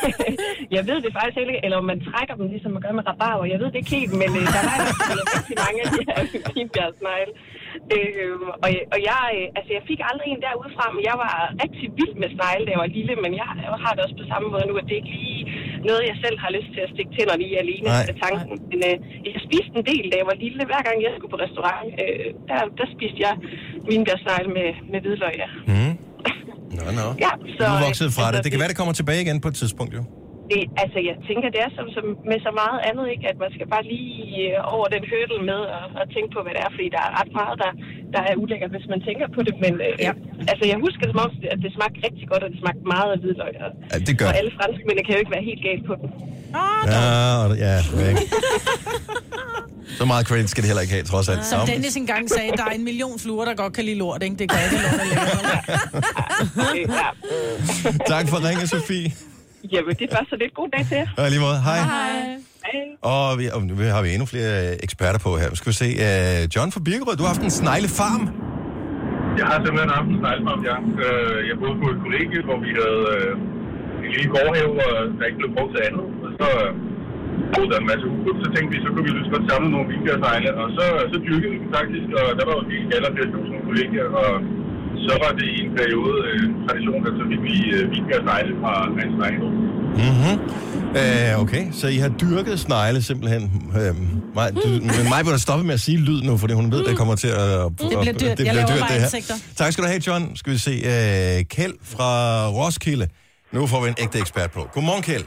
Speaker 7: jeg ved det faktisk heller ikke, eller om man trækker dem, ligesom man gør med rabarber. Jeg ved det ikke helt, men øh, der var der rigtig mange af de her pinbjergsnegle. Øh, og, jeg- og jeg, øh, altså, jeg fik aldrig en derudefra, men jeg var rigtig vild med snegle, da jeg var lille, men jeg har det også på samme måde nu, at det er ikke lige noget, jeg selv har lyst til at stikke tænderne i alene
Speaker 1: Nej.
Speaker 7: af tanken. Men øh, jeg spiste en del, da jeg var lille. Hver gang jeg skulle på restaurant, øh, der, der spiste jeg vinbærsnegle med, med hvidløg. Ja.
Speaker 1: Mm. Nå, nå.
Speaker 7: Ja,
Speaker 1: Så, du er
Speaker 7: øh,
Speaker 1: vokset fra
Speaker 7: altså,
Speaker 1: det. Det kan være, det kommer tilbage igen på et tidspunkt, jo.
Speaker 7: det, altså, jeg tænker, det er som, som med så meget andet, ikke? at man skal bare lige øh, over den hurdle med og, og tænke på, hvad det er, fordi der er ret meget, der, der er ulækkert, hvis man tænker på det. Men øh,
Speaker 3: Ja.
Speaker 7: ja. altså, jeg husker det som om, at det smagte rigtig godt, og det smagte meget af hvidløg. Og,
Speaker 1: Ja, det gør
Speaker 7: og
Speaker 1: det.
Speaker 7: alle franskmændene kan jo ikke være helt galt på den.
Speaker 1: Ja, og- ja, væk. Så meget credit skal det heller ikke have, trods alt.
Speaker 3: Som
Speaker 1: Nå,
Speaker 3: Dennis engang sagde, der er en million fluer, der godt kan lide lort, ikke? Det gør ikke lort, der ligger
Speaker 7: Øh, ja.
Speaker 1: tak for ringen, Sofie.
Speaker 7: Jamen, det var så lidt god dag til jer.
Speaker 1: Og i lige måde, hej. hej.
Speaker 7: Hej.
Speaker 1: Og vi, og nu har vi endnu flere øh, eksperter på her. Nu Skal vi se, uh, John fra Birkerød, du har haft en sneglefarm.
Speaker 9: Jeg har simpelthen haft en sneglebom, ja. Øh, jeg boede på et kollegie, hvor vi havde øh, en lille gårdhave, øh, der ikke blev brugt til andet. Og så øh, boede der en masse ukrudt, så tænkte vi, så kunne vi lige så godt samle nogle vinbjergsnegle. Og så, så dyrkede vi dem faktisk, og der var jo lige kalder flere tusind kollegier. Og så var det i en periode øh, en tradition, at så fik vi øh, vinbjergsnegle fra en sneglebom.
Speaker 1: Mm-hmm. Uh, okay, så I har dyrket snegle simpelthen. Uh, Maj, du, men mig vil da stoppe med at sige lyd nu, fordi hun ved, det kommer til at... Det
Speaker 3: bliver dyrt. Jeg laver bare insekter.
Speaker 1: Tak skal du have, John. Skal vi se uh, Kjeld fra Roskilde. Nu får vi en ægte ekspert på. Godmorgen, Kjeld.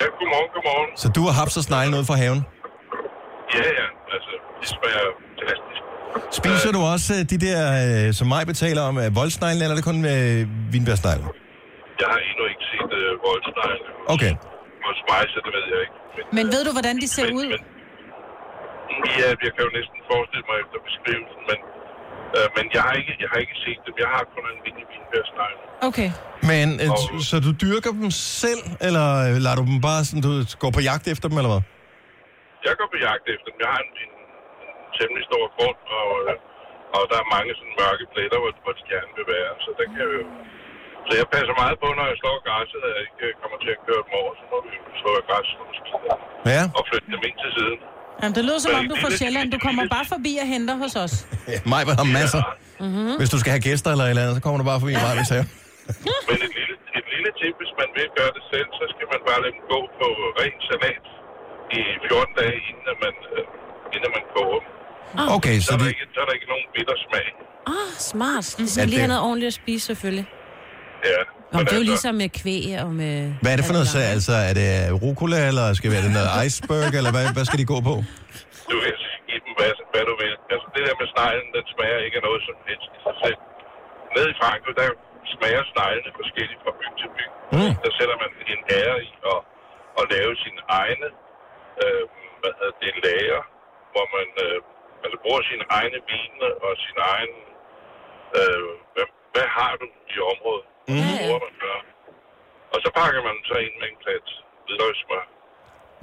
Speaker 9: Ja, godmorgen, godmorgen.
Speaker 1: Så du har haft så snegle ud fra haven.
Speaker 9: Ja, ja, altså, det smager fantastisk.
Speaker 1: Spiser du også øh, de der, øh, som mig betaler om, øh, voldsnegle, eller er det kun øh, vinbærsnegle?
Speaker 9: Jeg har endnu ikke set øh, voldsnegle.
Speaker 1: Okay.
Speaker 9: Hos mig, så det ved jeg ikke.
Speaker 3: Men ved du, hvordan de ser ud?
Speaker 9: Ja, jeg kan jo næsten forestille mig efter beskrivelsen, men, øh, men jeg, har ikke, jeg har ikke set dem. Jeg har kun en lille vinbærsnegl.
Speaker 3: Okay.
Speaker 1: Men øh, t- så du dyrker dem selv, eller øh, lader du dem bare sådan, du går på jagt efter dem, eller hvad?
Speaker 9: Jeg går på jagt efter dem. Jeg har en, en, en temmelig stor grund, og, øh, og der er mange sådan mørke pletter, hvor, hvor de gerne vil være. Så, der kan jeg jo... så jeg passer meget på, når jeg slår græsset, at jeg ikke øh, kommer til at køre dem over, så må vi slå af græsset nogle steder
Speaker 1: Ja,
Speaker 9: og flytte dem ind til siden.
Speaker 3: Jamen, det lyder som om, du er fra Sjælland. Du kommer bare forbi og henter hos os.
Speaker 1: mig har masser. Mm-hmm. Hvis du skal have gæster eller et eller andet, så kommer du bare forbi mig, hvis jeg...
Speaker 9: Men et lille, et lille tip, hvis man vil gøre det selv, så skal man bare lade dem gå på ren salat i 14 dage, inden at man, øh, inden at man koger dem.
Speaker 1: Okay,
Speaker 9: Så
Speaker 1: så
Speaker 9: er, der
Speaker 1: det...
Speaker 9: ikke, så er der ikke nogen bitter smag.
Speaker 2: Ah, smart. Det
Speaker 1: Ja,
Speaker 2: skal lige have
Speaker 1: det-
Speaker 2: noget ordentligt at spise, selvfølgelig.
Speaker 9: Ja.
Speaker 2: Nå, men det er jo
Speaker 9: altså,
Speaker 2: ligesom med kvæg og med...
Speaker 1: Hvad er det for noget, så,
Speaker 2: sag?
Speaker 1: altså? Er det rucola, eller skal være det noget iceberg, eller hvad, hvad skal de gå på?
Speaker 9: Du kan give dem, hvad, hvad du vil. Altså, det der med sneglen, den smager ikke af noget som helst i sig selv. Nede i Frankrig, der smager sneglene forskelligt fra by til by.
Speaker 1: Mm.
Speaker 9: Der sætter man en ære i at, at lave sine egne øh, hvad hedder det, lager, hvor man øh, altså, bruger sine egne vine og sin egen... Øh, hvad, hvad har du i området? Mm. Hvad bruger man gør? Og så pakker man så ind med en plat hvidløgsmør.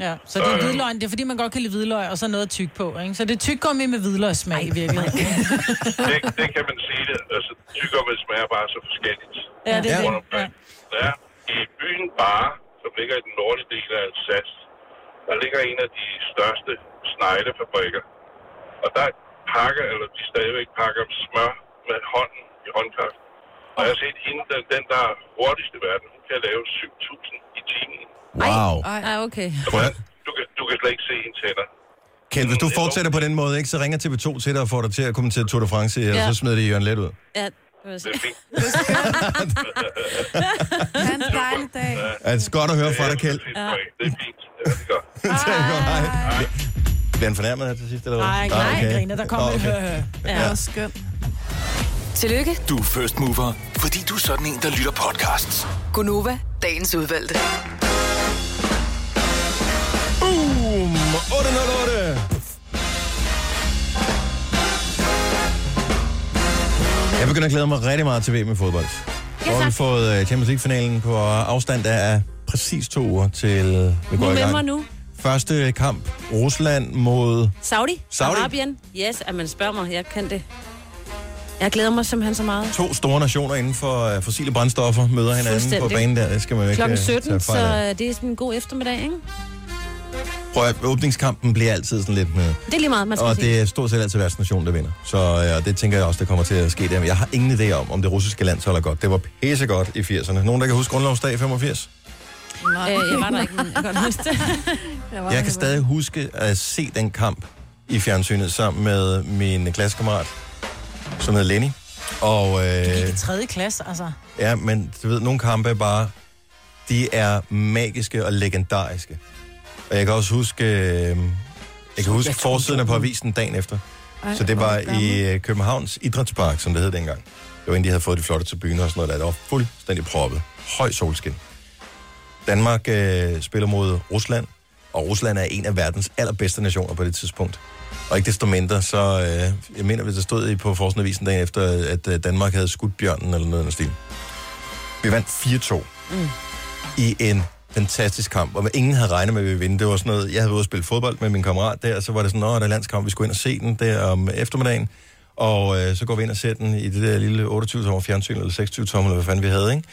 Speaker 3: Ja, så
Speaker 1: Øh.
Speaker 3: det er hvidløgn. Det er, fordi man godt kan lide hvidløg, og så noget tyk på, ikke? Så det er tyggegummi med hvidløgssmag i virkeligheden.
Speaker 9: det, det kan man sige det. Altså, tyggegummi smager bare så forskelligt.
Speaker 3: Ja, det er
Speaker 9: rundt
Speaker 3: det. Ja.
Speaker 9: omkring. Ja. I byen Bare, som ligger i den nordlige del af Alsace, der ligger en af de største sneglefabrikker. Og der pakker, eller de stadigvæk pakker smør med hånden i håndkraft. Og jeg har set hende, den, den der er hurtigst i verden, hun kan lave 7.000 i timen.
Speaker 1: Wow.
Speaker 2: Ej, Ah, okay.
Speaker 1: Prøv at-
Speaker 9: Du kan, du kan slet ikke se hendes hænder.
Speaker 1: Kjeld, hvis du fortsætter på den måde, ikke, så ringer TV2 til dig og får dig til at kommentere Tour de France, og
Speaker 2: Ja.
Speaker 1: så smider de Jørgen Let ud.
Speaker 2: Ja, det vil jeg
Speaker 9: Det
Speaker 2: sige.
Speaker 9: er fint.
Speaker 4: Ha' en dejlig dag.
Speaker 1: Altså, godt at høre fra dig,
Speaker 9: det,
Speaker 1: Kjeld.
Speaker 9: er fint. det er fint. Ja, det er godt.
Speaker 1: Tak, og hej. Bliver han fornærmet her til sidst, eller hvad? Ah,
Speaker 3: Nej, nej, okay. griner. Der kommer
Speaker 1: Nå,
Speaker 3: okay. øh,
Speaker 4: Det var skønt.
Speaker 5: Tillykke,
Speaker 6: Du er first mover, fordi du er sådan en, der lytter podcasts.
Speaker 5: Gunova, dagens udvalgte.
Speaker 1: Boom! 808! Jeg begynder at glæde mig rigtig meget til VM i fodbold. Ja, har vi fået øh, Champions League-finalen på afstand af præcis to uger til vi går i
Speaker 2: November
Speaker 1: gang.
Speaker 2: nu.
Speaker 1: Første kamp, Rusland mod...
Speaker 2: Saudi?
Speaker 1: Saudi?
Speaker 2: Arabien? Yes, at man spørger mig. Jeg kan det. Jeg glæder mig simpelthen så meget.
Speaker 1: To store nationer inden for øh, fossile brændstoffer møder hinanden på
Speaker 2: Fuldstændig.
Speaker 1: banen der. Det skal man jo ikke
Speaker 2: Klokken
Speaker 1: øh, tage
Speaker 2: 17, så
Speaker 1: fejl af.
Speaker 2: øh, det er sådan en god eftermiddag, ikke?
Speaker 1: Prøv at, åbningskampen bliver altid sådan lidt med...
Speaker 2: Det er lige meget, man skal
Speaker 1: Og
Speaker 2: sige.
Speaker 1: det er stort set altid værtsnation, der vinder. Så ja, det tænker jeg også, der kommer til at ske der. Men jeg har ingen idé om, om det russiske landshold er godt. Det var pissegodt i 80'erne. Nogen, der kan huske grundlovsdag i 85?
Speaker 2: Øh, jeg var der ikke, men jeg kan godt huske det.
Speaker 1: Jeg kan stadig huske at se den kamp i fjernsynet sammen med min klassekammerat, som hedder Lenny. Og,
Speaker 3: Gik
Speaker 1: øh,
Speaker 3: i tredje klasse, altså.
Speaker 1: ja, men du ved, nogle kampe er bare, de er magiske og legendariske. Og jeg kan også huske, øh, jeg kan huske forsiden på avisen dagen efter.
Speaker 4: Ej,
Speaker 1: Så det
Speaker 4: hvor
Speaker 1: var
Speaker 4: er gammel.
Speaker 1: i øh, Københavns Idrætspark, som det hed dengang. Det var inden de havde fået de flotte tribuner og sådan noget der. Det var fuldstændig proppet. Høj solskin. Danmark øh, spiller mod Rusland, og Rusland er en af verdens allerbedste nationer på det tidspunkt. Og ikke desto mindre, så øh, jeg mener, hvis der stod i på Forsenavisen dagen efter, at øh, Danmark havde skudt bjørnen eller noget af den stil. Vi vandt 4-2 mm. i en fantastisk kamp, og ingen havde regnet med, at vi ville vinde. Det var sådan noget, jeg havde været ude og spille fodbold med min kammerat der, og så var det sådan, at der er landskamp, vi skulle ind og se den der om eftermiddagen. Og øh, så går vi ind og ser den i det der lille 28-tommer fjernsyn, eller 26-tommer, eller hvad fanden vi havde, ikke?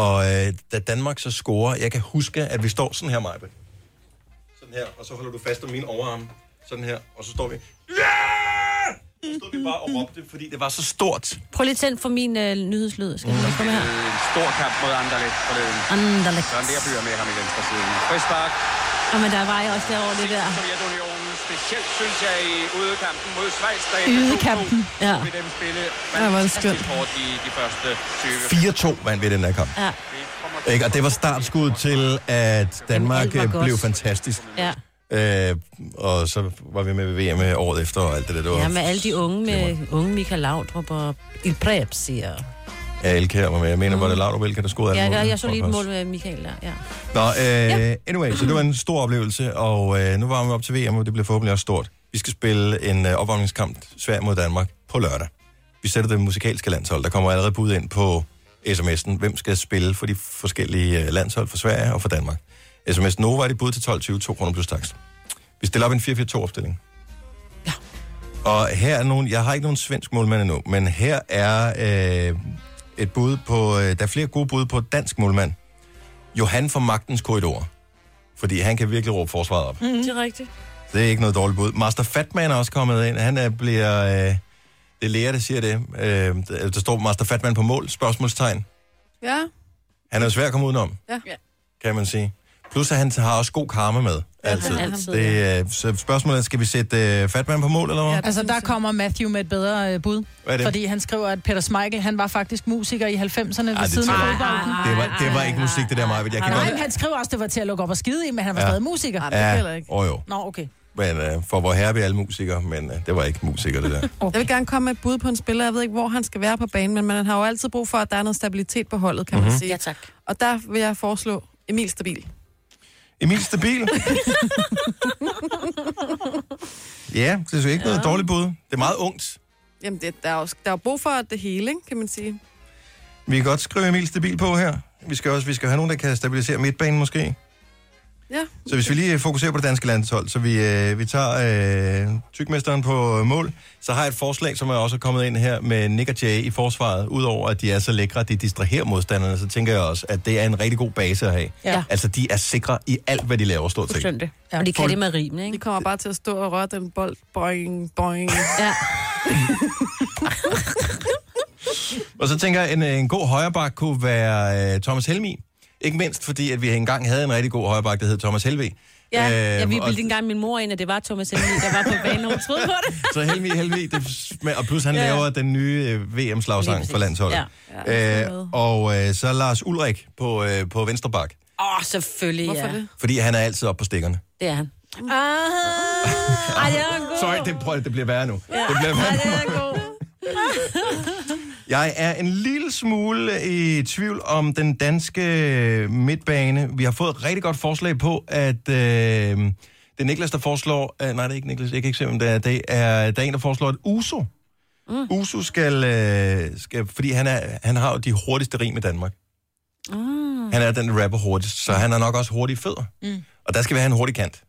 Speaker 1: Og øh, da Danmark så scorer, jeg kan huske, at vi står sådan her, Majbe. Sådan her, og så holder du fast om min overarm. Sådan her, og så står vi... Ja! Så stod vi bare og råbte, fordi det var så stort.
Speaker 2: Prøv lige at tænd for min øh, nyhedslyd. Skal jeg komme her?
Speaker 3: Mm.
Speaker 10: Øh, En stor kamp mod Anderlecht forleden.
Speaker 2: Anderlecht.
Speaker 10: Søren Lerby er med ham i venstre siden. Frispark,
Speaker 2: Og men der var jeg også derovre, det der.
Speaker 10: Sovjetunionen. Specielt synes jeg i udekampen mod Schweiz, der
Speaker 3: Ydekampen.
Speaker 2: Ja,
Speaker 10: med dem spille
Speaker 3: Ja, hvor er det
Speaker 10: fantastisk hårdt i de første 20.
Speaker 1: 4-2 vandt vi den her kamp.
Speaker 2: ja,
Speaker 1: Ikke? Og det var startskuddet til, at Danmark
Speaker 2: Jamen, alt var
Speaker 1: øh,
Speaker 2: godt.
Speaker 1: blev fantastisk.
Speaker 2: ja.
Speaker 1: Øh, og så var vi med ved VM året efter og alt det der. Det var
Speaker 2: Ja, med alle de unge, med unge Michael Laudrup og Il Preb, siger jeg.
Speaker 1: Ja, Elkær var med. Jeg mener, var det Laudrup Elkær, der skod alle
Speaker 2: Jeg, jeg,
Speaker 1: målene?
Speaker 2: jeg så lige et
Speaker 1: Tror
Speaker 2: mål med Michael der, ja.
Speaker 1: jeg faktisk. Nå, øh, anyway, så det var en stor oplevelse, og øh, nu var vi op til VM, og det blev forhåbentlig også stort. Vi skal spille en øh, opvarmningskamp Sverige mod Danmark på lørdag. Vi sætter det musikalske landshold. Der kommer allerede bud ind på sms'en, hvem skal spille for de forskellige øh, landshold for Sverige og for Danmark. SMS Nova er det bud til 12.20, 2 kroner plus takst. Vi stiller op en 4-4-2-opstilling. Ja. Og her er nogen, jeg har ikke nogen svensk målmand endnu, men her er øh, et bud på, øh, der er flere gode bud på dansk målmand. Johan fra Magtens Korridor. Fordi han kan virkelig råbe forsvaret op. Mm.
Speaker 2: Det er rigtigt.
Speaker 1: Det er ikke noget dårligt bud. Master Fatman er også kommet ind. Han er, bliver... Øh, det er læger, der siger det. Øh, der der står Master Fatman på mål, spørgsmålstegn.
Speaker 4: Ja,
Speaker 1: Han er jo svær at komme udenom,
Speaker 4: ja.
Speaker 1: kan man sige. Plus, at han har også god karma med. Altid.
Speaker 2: han altid,
Speaker 1: det, øh, så spørgsmålet er, skal vi sætte øh, Fatman på mål, eller hvad?
Speaker 4: Ja.
Speaker 1: Ja.
Speaker 3: Altså, der kommer Matthew med et bedre øh, bud.
Speaker 1: Hvad er det?
Speaker 3: Fordi han skriver, at Peter Schmeichel, han var faktisk musiker i 90'erne
Speaker 1: Ej,
Speaker 3: ved
Speaker 1: det
Speaker 3: siden af
Speaker 1: tror jeg ikke.
Speaker 3: fodbolden.
Speaker 1: Det var, det var ikke musik, det der, Maja. Jeg kan
Speaker 3: Nej, men
Speaker 1: godt...
Speaker 3: han skriver også, at det var til at lukke op og skide i, men han var
Speaker 1: Ja.
Speaker 3: stadig musiker.
Speaker 4: Nej, det ja. heller
Speaker 1: Ja,
Speaker 4: ikke.
Speaker 1: åh jo.
Speaker 3: Nå, okay.
Speaker 1: Men, øh, for hvor herre vi er alle musikere, men øh, det var ikke musikere, det der.
Speaker 4: Jeg vil gerne komme med et bud på en spiller. Jeg ved ikke, hvor han skal være på banen, men man har jo altid brug for, at der er noget stabilitet på holdet, kan mm-hmm. man sige.
Speaker 2: Ja, tak.
Speaker 4: Og der vil jeg foreslå Emil Stabil.
Speaker 1: Emil Stabil. ja, det er jo ikke noget dårligt bud. Det er meget ungt.
Speaker 4: Jamen, det, der, er jo, der er jo brug for det hele, ikke, kan man sige.
Speaker 1: Vi kan godt skrive Emil Stabil på her. Vi skal også vi skal have nogen, der kan stabilisere midtbanen måske.
Speaker 4: Ja,
Speaker 1: Så hvis vi lige øh, fokuserer på det danske landshold, så vi, øh, vi tager øh, tykmesteren på øh, mål, så har jeg et forslag, som er også kommet ind her med Nick og Jay i forsvaret. Udover at de er så lækre, at de distraherer modstanderne, så tænker jeg også, at det er en rigtig god base at have.
Speaker 3: Ja.
Speaker 1: Altså, de er sikre i alt, hvad de laver stort set.
Speaker 2: Forstændig. Og de kan det med rimene,
Speaker 4: de
Speaker 2: ikke?
Speaker 4: kommer bare til at stå og røre den bold. Boing, boing.
Speaker 2: Ja.
Speaker 1: Og så tænker jeg, en, øh, en god højreback kunne være øh, Thomas Helmi. Ikke mindst fordi, at vi engang havde en rigtig god højreback, der hed Thomas Helve.
Speaker 2: Ja, jeg ville
Speaker 1: og,
Speaker 2: bilde engang min mor ind, at det var Thomas Helmi, der var på banen, og hun troede på det.
Speaker 1: Så Helmi, Helmi, det, smager- og plus han
Speaker 2: Ja.
Speaker 1: ja. laver den nye øh, VM-slagsang
Speaker 2: Lige
Speaker 1: for
Speaker 2: præcis.
Speaker 1: landsholdet.
Speaker 4: Ja,
Speaker 1: Ja.
Speaker 4: sådan
Speaker 1: Øh,
Speaker 4: noget.
Speaker 1: og øh, så Lars Ulrik på, øh, på venstre bak,
Speaker 2: Åh, oh, selvfølgelig,
Speaker 4: Hvorfor
Speaker 2: ja.
Speaker 4: det?
Speaker 1: fordi han er altid oppe på stikkerne.
Speaker 2: Det er han. Ah, ej, det er en god.
Speaker 1: Sorry, det, prøv, det bliver værre nu. Ja. Det bliver
Speaker 2: Ej,
Speaker 1: værre.
Speaker 2: det er en god.
Speaker 1: Jeg er en lille smule i tvivl om den danske midtbane. Vi har fået et rigtig godt forslag på, at øh, det er Niklas, der foreslår... Øh, nej, det er ikke Niklas, jeg kan ikke se, hvem det er. Det er, der er en, der foreslår, at Uso. Mm. Uso skal, øh, skal... Fordi han, er, han har jo de hurtigste rim i Danmark.
Speaker 2: Ah.
Speaker 1: Mm. Han er den der rapper hurtigst, så han er nok også hurtig i fødder. Mm. Og der skal vi have en hurtig kant.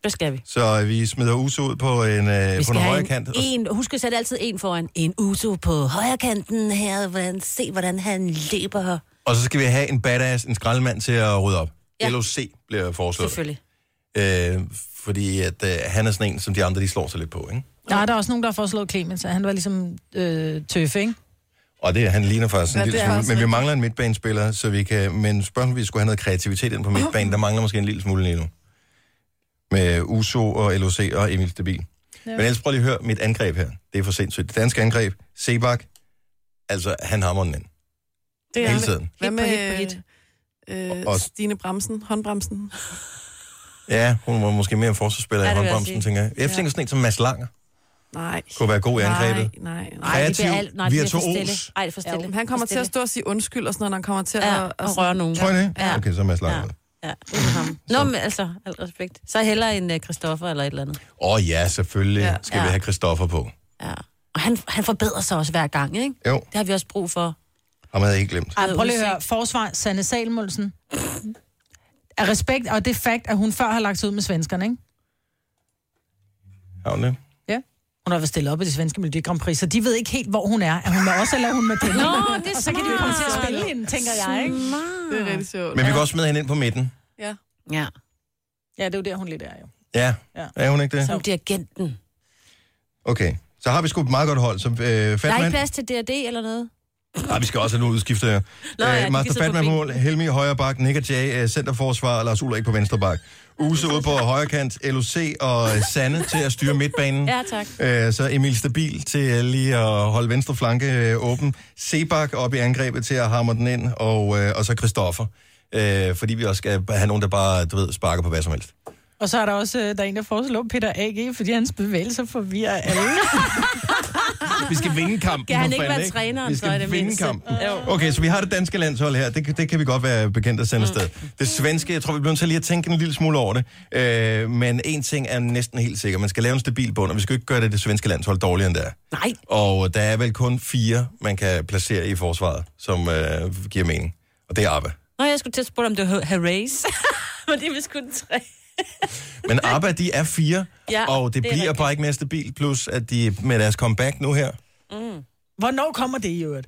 Speaker 2: Hvad skal vi?
Speaker 1: Så øh, vi smider Uso ud på en, øh,
Speaker 2: Vi
Speaker 1: på
Speaker 2: skal
Speaker 1: en
Speaker 2: have
Speaker 1: højre
Speaker 2: en,
Speaker 1: kant. og-
Speaker 2: en, husk at sætte altid en foran. En Uso på højre kanten her. Hvordan, se, hvordan han løber her.
Speaker 1: Og så skal vi have en badass, en skraldemand til at rydde op.
Speaker 2: Ja.
Speaker 1: Ja. LOC bliver foreslået.
Speaker 2: Selvfølgelig.
Speaker 1: Øh, fordi at, øh, han er sådan en, som de andre de slår sig lidt på, ikke?
Speaker 3: Der er der også nogen, der har foreslået Clemens, at han var ligesom øh, tøffe, ikke?
Speaker 1: Og det, han ligner faktisk en
Speaker 11: Ja,
Speaker 1: ja,
Speaker 11: det
Speaker 1: lille
Speaker 11: er
Speaker 1: smule.
Speaker 11: faktisk
Speaker 1: Men vi
Speaker 11: rigtigt.
Speaker 1: mangler en midtbanespiller, så vi kan... Men spørgsmålet, vi skulle have noget kreativitet ind på midtbanen. Der mangler måske en lille smule lige nu. Med Uso og LOC og Emil Stabil. Ja. Men ellers prøv lige at høre mit angreb her. Det er for sindssygt. Det danske angreb, Sebak, altså han hammer den ind.
Speaker 4: Det
Speaker 1: Hele tiden.
Speaker 4: Hvad med
Speaker 2: hit på hit
Speaker 4: Øh,
Speaker 1: Og-
Speaker 4: Stine Bremsen, håndbremsen?
Speaker 1: Ja, hun var måske mere en forsvarsspiller
Speaker 4: Ja,
Speaker 1: ja, i
Speaker 4: det vil jeg
Speaker 1: håndbremsen,
Speaker 4: sige.
Speaker 1: tænker jeg. Jeg tænker sådan en som Mads Langer
Speaker 4: Nej.
Speaker 1: kunne være god i angrebet.
Speaker 4: Nej, nej.
Speaker 1: nej. Kreativ, Nej, det bliver alt- nej, det bliver for virtuos. stille.
Speaker 2: Nej, det er for stille.
Speaker 4: Ja, han kommer
Speaker 2: For
Speaker 4: til at
Speaker 2: stille.
Speaker 4: stå og sige undskyld og sådan noget, når han kommer til
Speaker 2: Ja,
Speaker 4: at...
Speaker 2: og røre nogen.
Speaker 4: Ja.
Speaker 1: Tror I det?
Speaker 2: Ja.
Speaker 1: Okay, så er Mads Langer.
Speaker 2: Ja.
Speaker 1: med.
Speaker 2: Ja, uden ham. Nå, men altså, al respekt. Så hellere en uh, Christoffer eller et eller andet.
Speaker 1: Åh oh, ja, selvfølgelig ja. skal ja. vi
Speaker 2: Ja.
Speaker 1: have Christoffer på.
Speaker 2: Og han, han forbedrer sig også hver gang, ikke?
Speaker 1: Jo.
Speaker 2: Det har vi også brug for.
Speaker 1: Ham havde jeg ikke glemt.
Speaker 3: Ej, prøv lige at høre. Forsvar, Sanne Salmølsen. Af respekt, og det fakt, at hun før har lagt sig ud med svenskerne, ikke?
Speaker 1: Har hun det?
Speaker 3: Ja. Hun har været stillet op i det svenske Melodi Grand Prix, så de ved ikke helt, hvor hun er. Er hun med os, eller er hun med dem?
Speaker 2: Nå, det er
Speaker 3: Og så kan de jo komme til at
Speaker 2: smart.
Speaker 3: spille hende, tænker jeg, ikke?
Speaker 4: Det er rigtig sjovt.
Speaker 1: Men vi kan også smide hende ind på midten.
Speaker 4: Ja.
Speaker 2: Ja.
Speaker 3: Ja, det er jo der, hun lidt er, jo.
Speaker 1: Ja,
Speaker 3: Ja.
Speaker 1: er hun ikke det?
Speaker 2: Som dirigenten.
Speaker 1: Okay, så har vi sgu et meget godt hold. Så, øh,
Speaker 2: Der er ikke
Speaker 1: Fatman.
Speaker 2: plads til D&D eller noget?
Speaker 1: Nej, vi skal også have nogle udskifter her.
Speaker 2: Nå, ja, de
Speaker 1: Øh,
Speaker 2: kan
Speaker 1: Master
Speaker 2: sidde på
Speaker 1: Fatman på
Speaker 2: bænken.
Speaker 1: mål, Helmi i højre bak, Nick og Jay, øh, centerforsvar, og Lars Ulrik på venstre bak. Use ude på højre kant, LOC og øh, Sanne til at styre midtbanen.
Speaker 2: Ja, tak.
Speaker 1: Øh, så Emil Stabil til øh, lige at holde venstre flanke øh, åben. Sebak op i angrebet til at hamre den ind, og, øh, og så Christoffer. Øh, fordi vi også skal have nogen, der bare, du ved, sparker på hvad som helst.
Speaker 3: Og så er der også, øh, der er en, der foreslår Peter A.G., fordi hans bevægelser forvirrer alle.
Speaker 1: Vi skal vinde kampen.
Speaker 3: Kan han
Speaker 1: for
Speaker 3: ikke
Speaker 1: fanden,
Speaker 3: være træneren,
Speaker 1: Vi
Speaker 3: så
Speaker 1: skal
Speaker 3: i det
Speaker 1: vinde
Speaker 3: mindste?
Speaker 1: kampen.
Speaker 3: Jo.
Speaker 1: Okay, så vi har det danske landshold her. Det, kan- det kan vi godt være bekendt at sende afsted. Det svenske, jeg tror, vi bliver nødt til lige at tænke en lille smule over det. Øh, men en ting er næsten helt sikker. Man skal lave en stabil bund, og vi skal jo ikke gøre det, det svenske landshold dårligere end det er.
Speaker 2: Nej.
Speaker 1: Og der er vel kun fire, man kan placere i forsvaret, som øh, giver mening. Og det er ABBA.
Speaker 2: Nå, jeg skulle til at spørge, om det var Harris. Men det er vist kun tre.
Speaker 1: Men ABBA, de er fire,
Speaker 2: Ja,
Speaker 1: og det,
Speaker 2: det
Speaker 1: det
Speaker 2: er
Speaker 1: bliver
Speaker 2: rigtigt.
Speaker 1: bare ikke mere stabilt. Plus, at de med deres comeback nu her,
Speaker 3: Mm. Hvornår kommer det i øvrigt?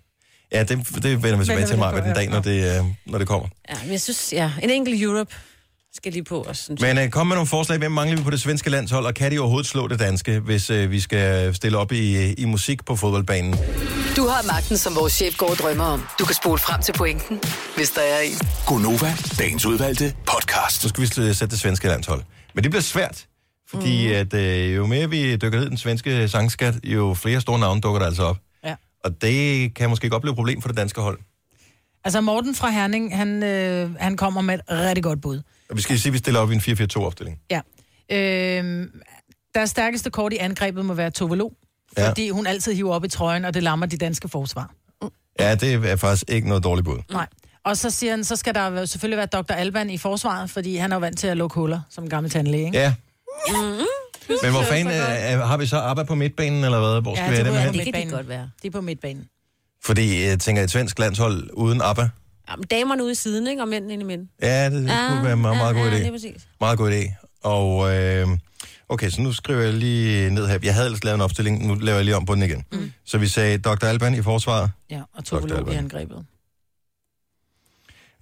Speaker 1: ja, det, det vender vi tilbage
Speaker 3: vi
Speaker 1: til
Speaker 3: lige
Speaker 1: mig
Speaker 3: på,
Speaker 1: ved den
Speaker 3: ja.
Speaker 1: dag, når det, øh, når det kommer.
Speaker 2: Ja, men jeg synes, ja. En enkelt Europe skal lige på også, synes jeg.
Speaker 1: Men øh, kom med nogle forslag. Hvem mangler vi på det svenske landshold, og kan de overhovedet slå det danske, hvis øh, vi skal stille op i, i musik på fodboldbanen?
Speaker 5: Du har magten, som vores chef går og drømmer om. Du kan spole frem til pointen, hvis der er en.
Speaker 1: Gonova, dagens udvalgte podcast. Så skal vi sl- sætte det svenske landshold. Men det bliver svært, fordi mm. at, øh, jo mere vi dykker ned i den svenske sangskat, jo flere store navne dukker der altså op.
Speaker 3: Ja.
Speaker 1: Og det kan måske godt blive et problem for det danske hold.
Speaker 3: Altså, Morten fra Herning, han, øh, han kommer med et rigtig godt bud.
Speaker 1: Og vi skal sige, at vi stiller op i en 4-4-2-opstilling.
Speaker 3: Ja. Øh, deres stærkeste kort i angrebet må være Tovelo,
Speaker 1: Ja.
Speaker 3: fordi hun altid hiver op i trøjen, og det lammer de danske forsvar.
Speaker 1: Ja, det er faktisk ikke noget dårligt bud.
Speaker 3: Nej. Og så siger han, så skal der jo selvfølgelig være Dr. Alban i forsvaret, fordi han er jo vant til at lukke huller som gammel tandlæge, ikke?
Speaker 1: Ja,
Speaker 3: Mm-hmm.
Speaker 1: men hvor fanden øh, har vi så arbejdet på midtbanen, eller hvad? Hvor skal
Speaker 3: Ja,
Speaker 1: ja, vi have
Speaker 3: det,
Speaker 1: dem
Speaker 3: ryger
Speaker 1: hen?
Speaker 3: på midtbanen. godt være. Det er på midtbanen.
Speaker 1: Fordi jeg tænker, et svensk landshold uden ABBA,
Speaker 2: Jamen, damerne ude i siden, ikke? Og mændene ind i midten.
Speaker 1: ja, det ah, kunne være en meget, meget god
Speaker 2: ja,
Speaker 1: idé.
Speaker 2: det er præcis.
Speaker 1: Meget god idé. Og øh, okay, så nu skriver jeg lige ned her. Jeg havde ellers lavet en opstilling, nu laver jeg lige om på den igen. Mm. Så vi sagde Dr. Alban i forsvaret.
Speaker 3: Ja, og
Speaker 1: Dr.
Speaker 3: Tovelo
Speaker 1: Alban.
Speaker 3: i angrebet.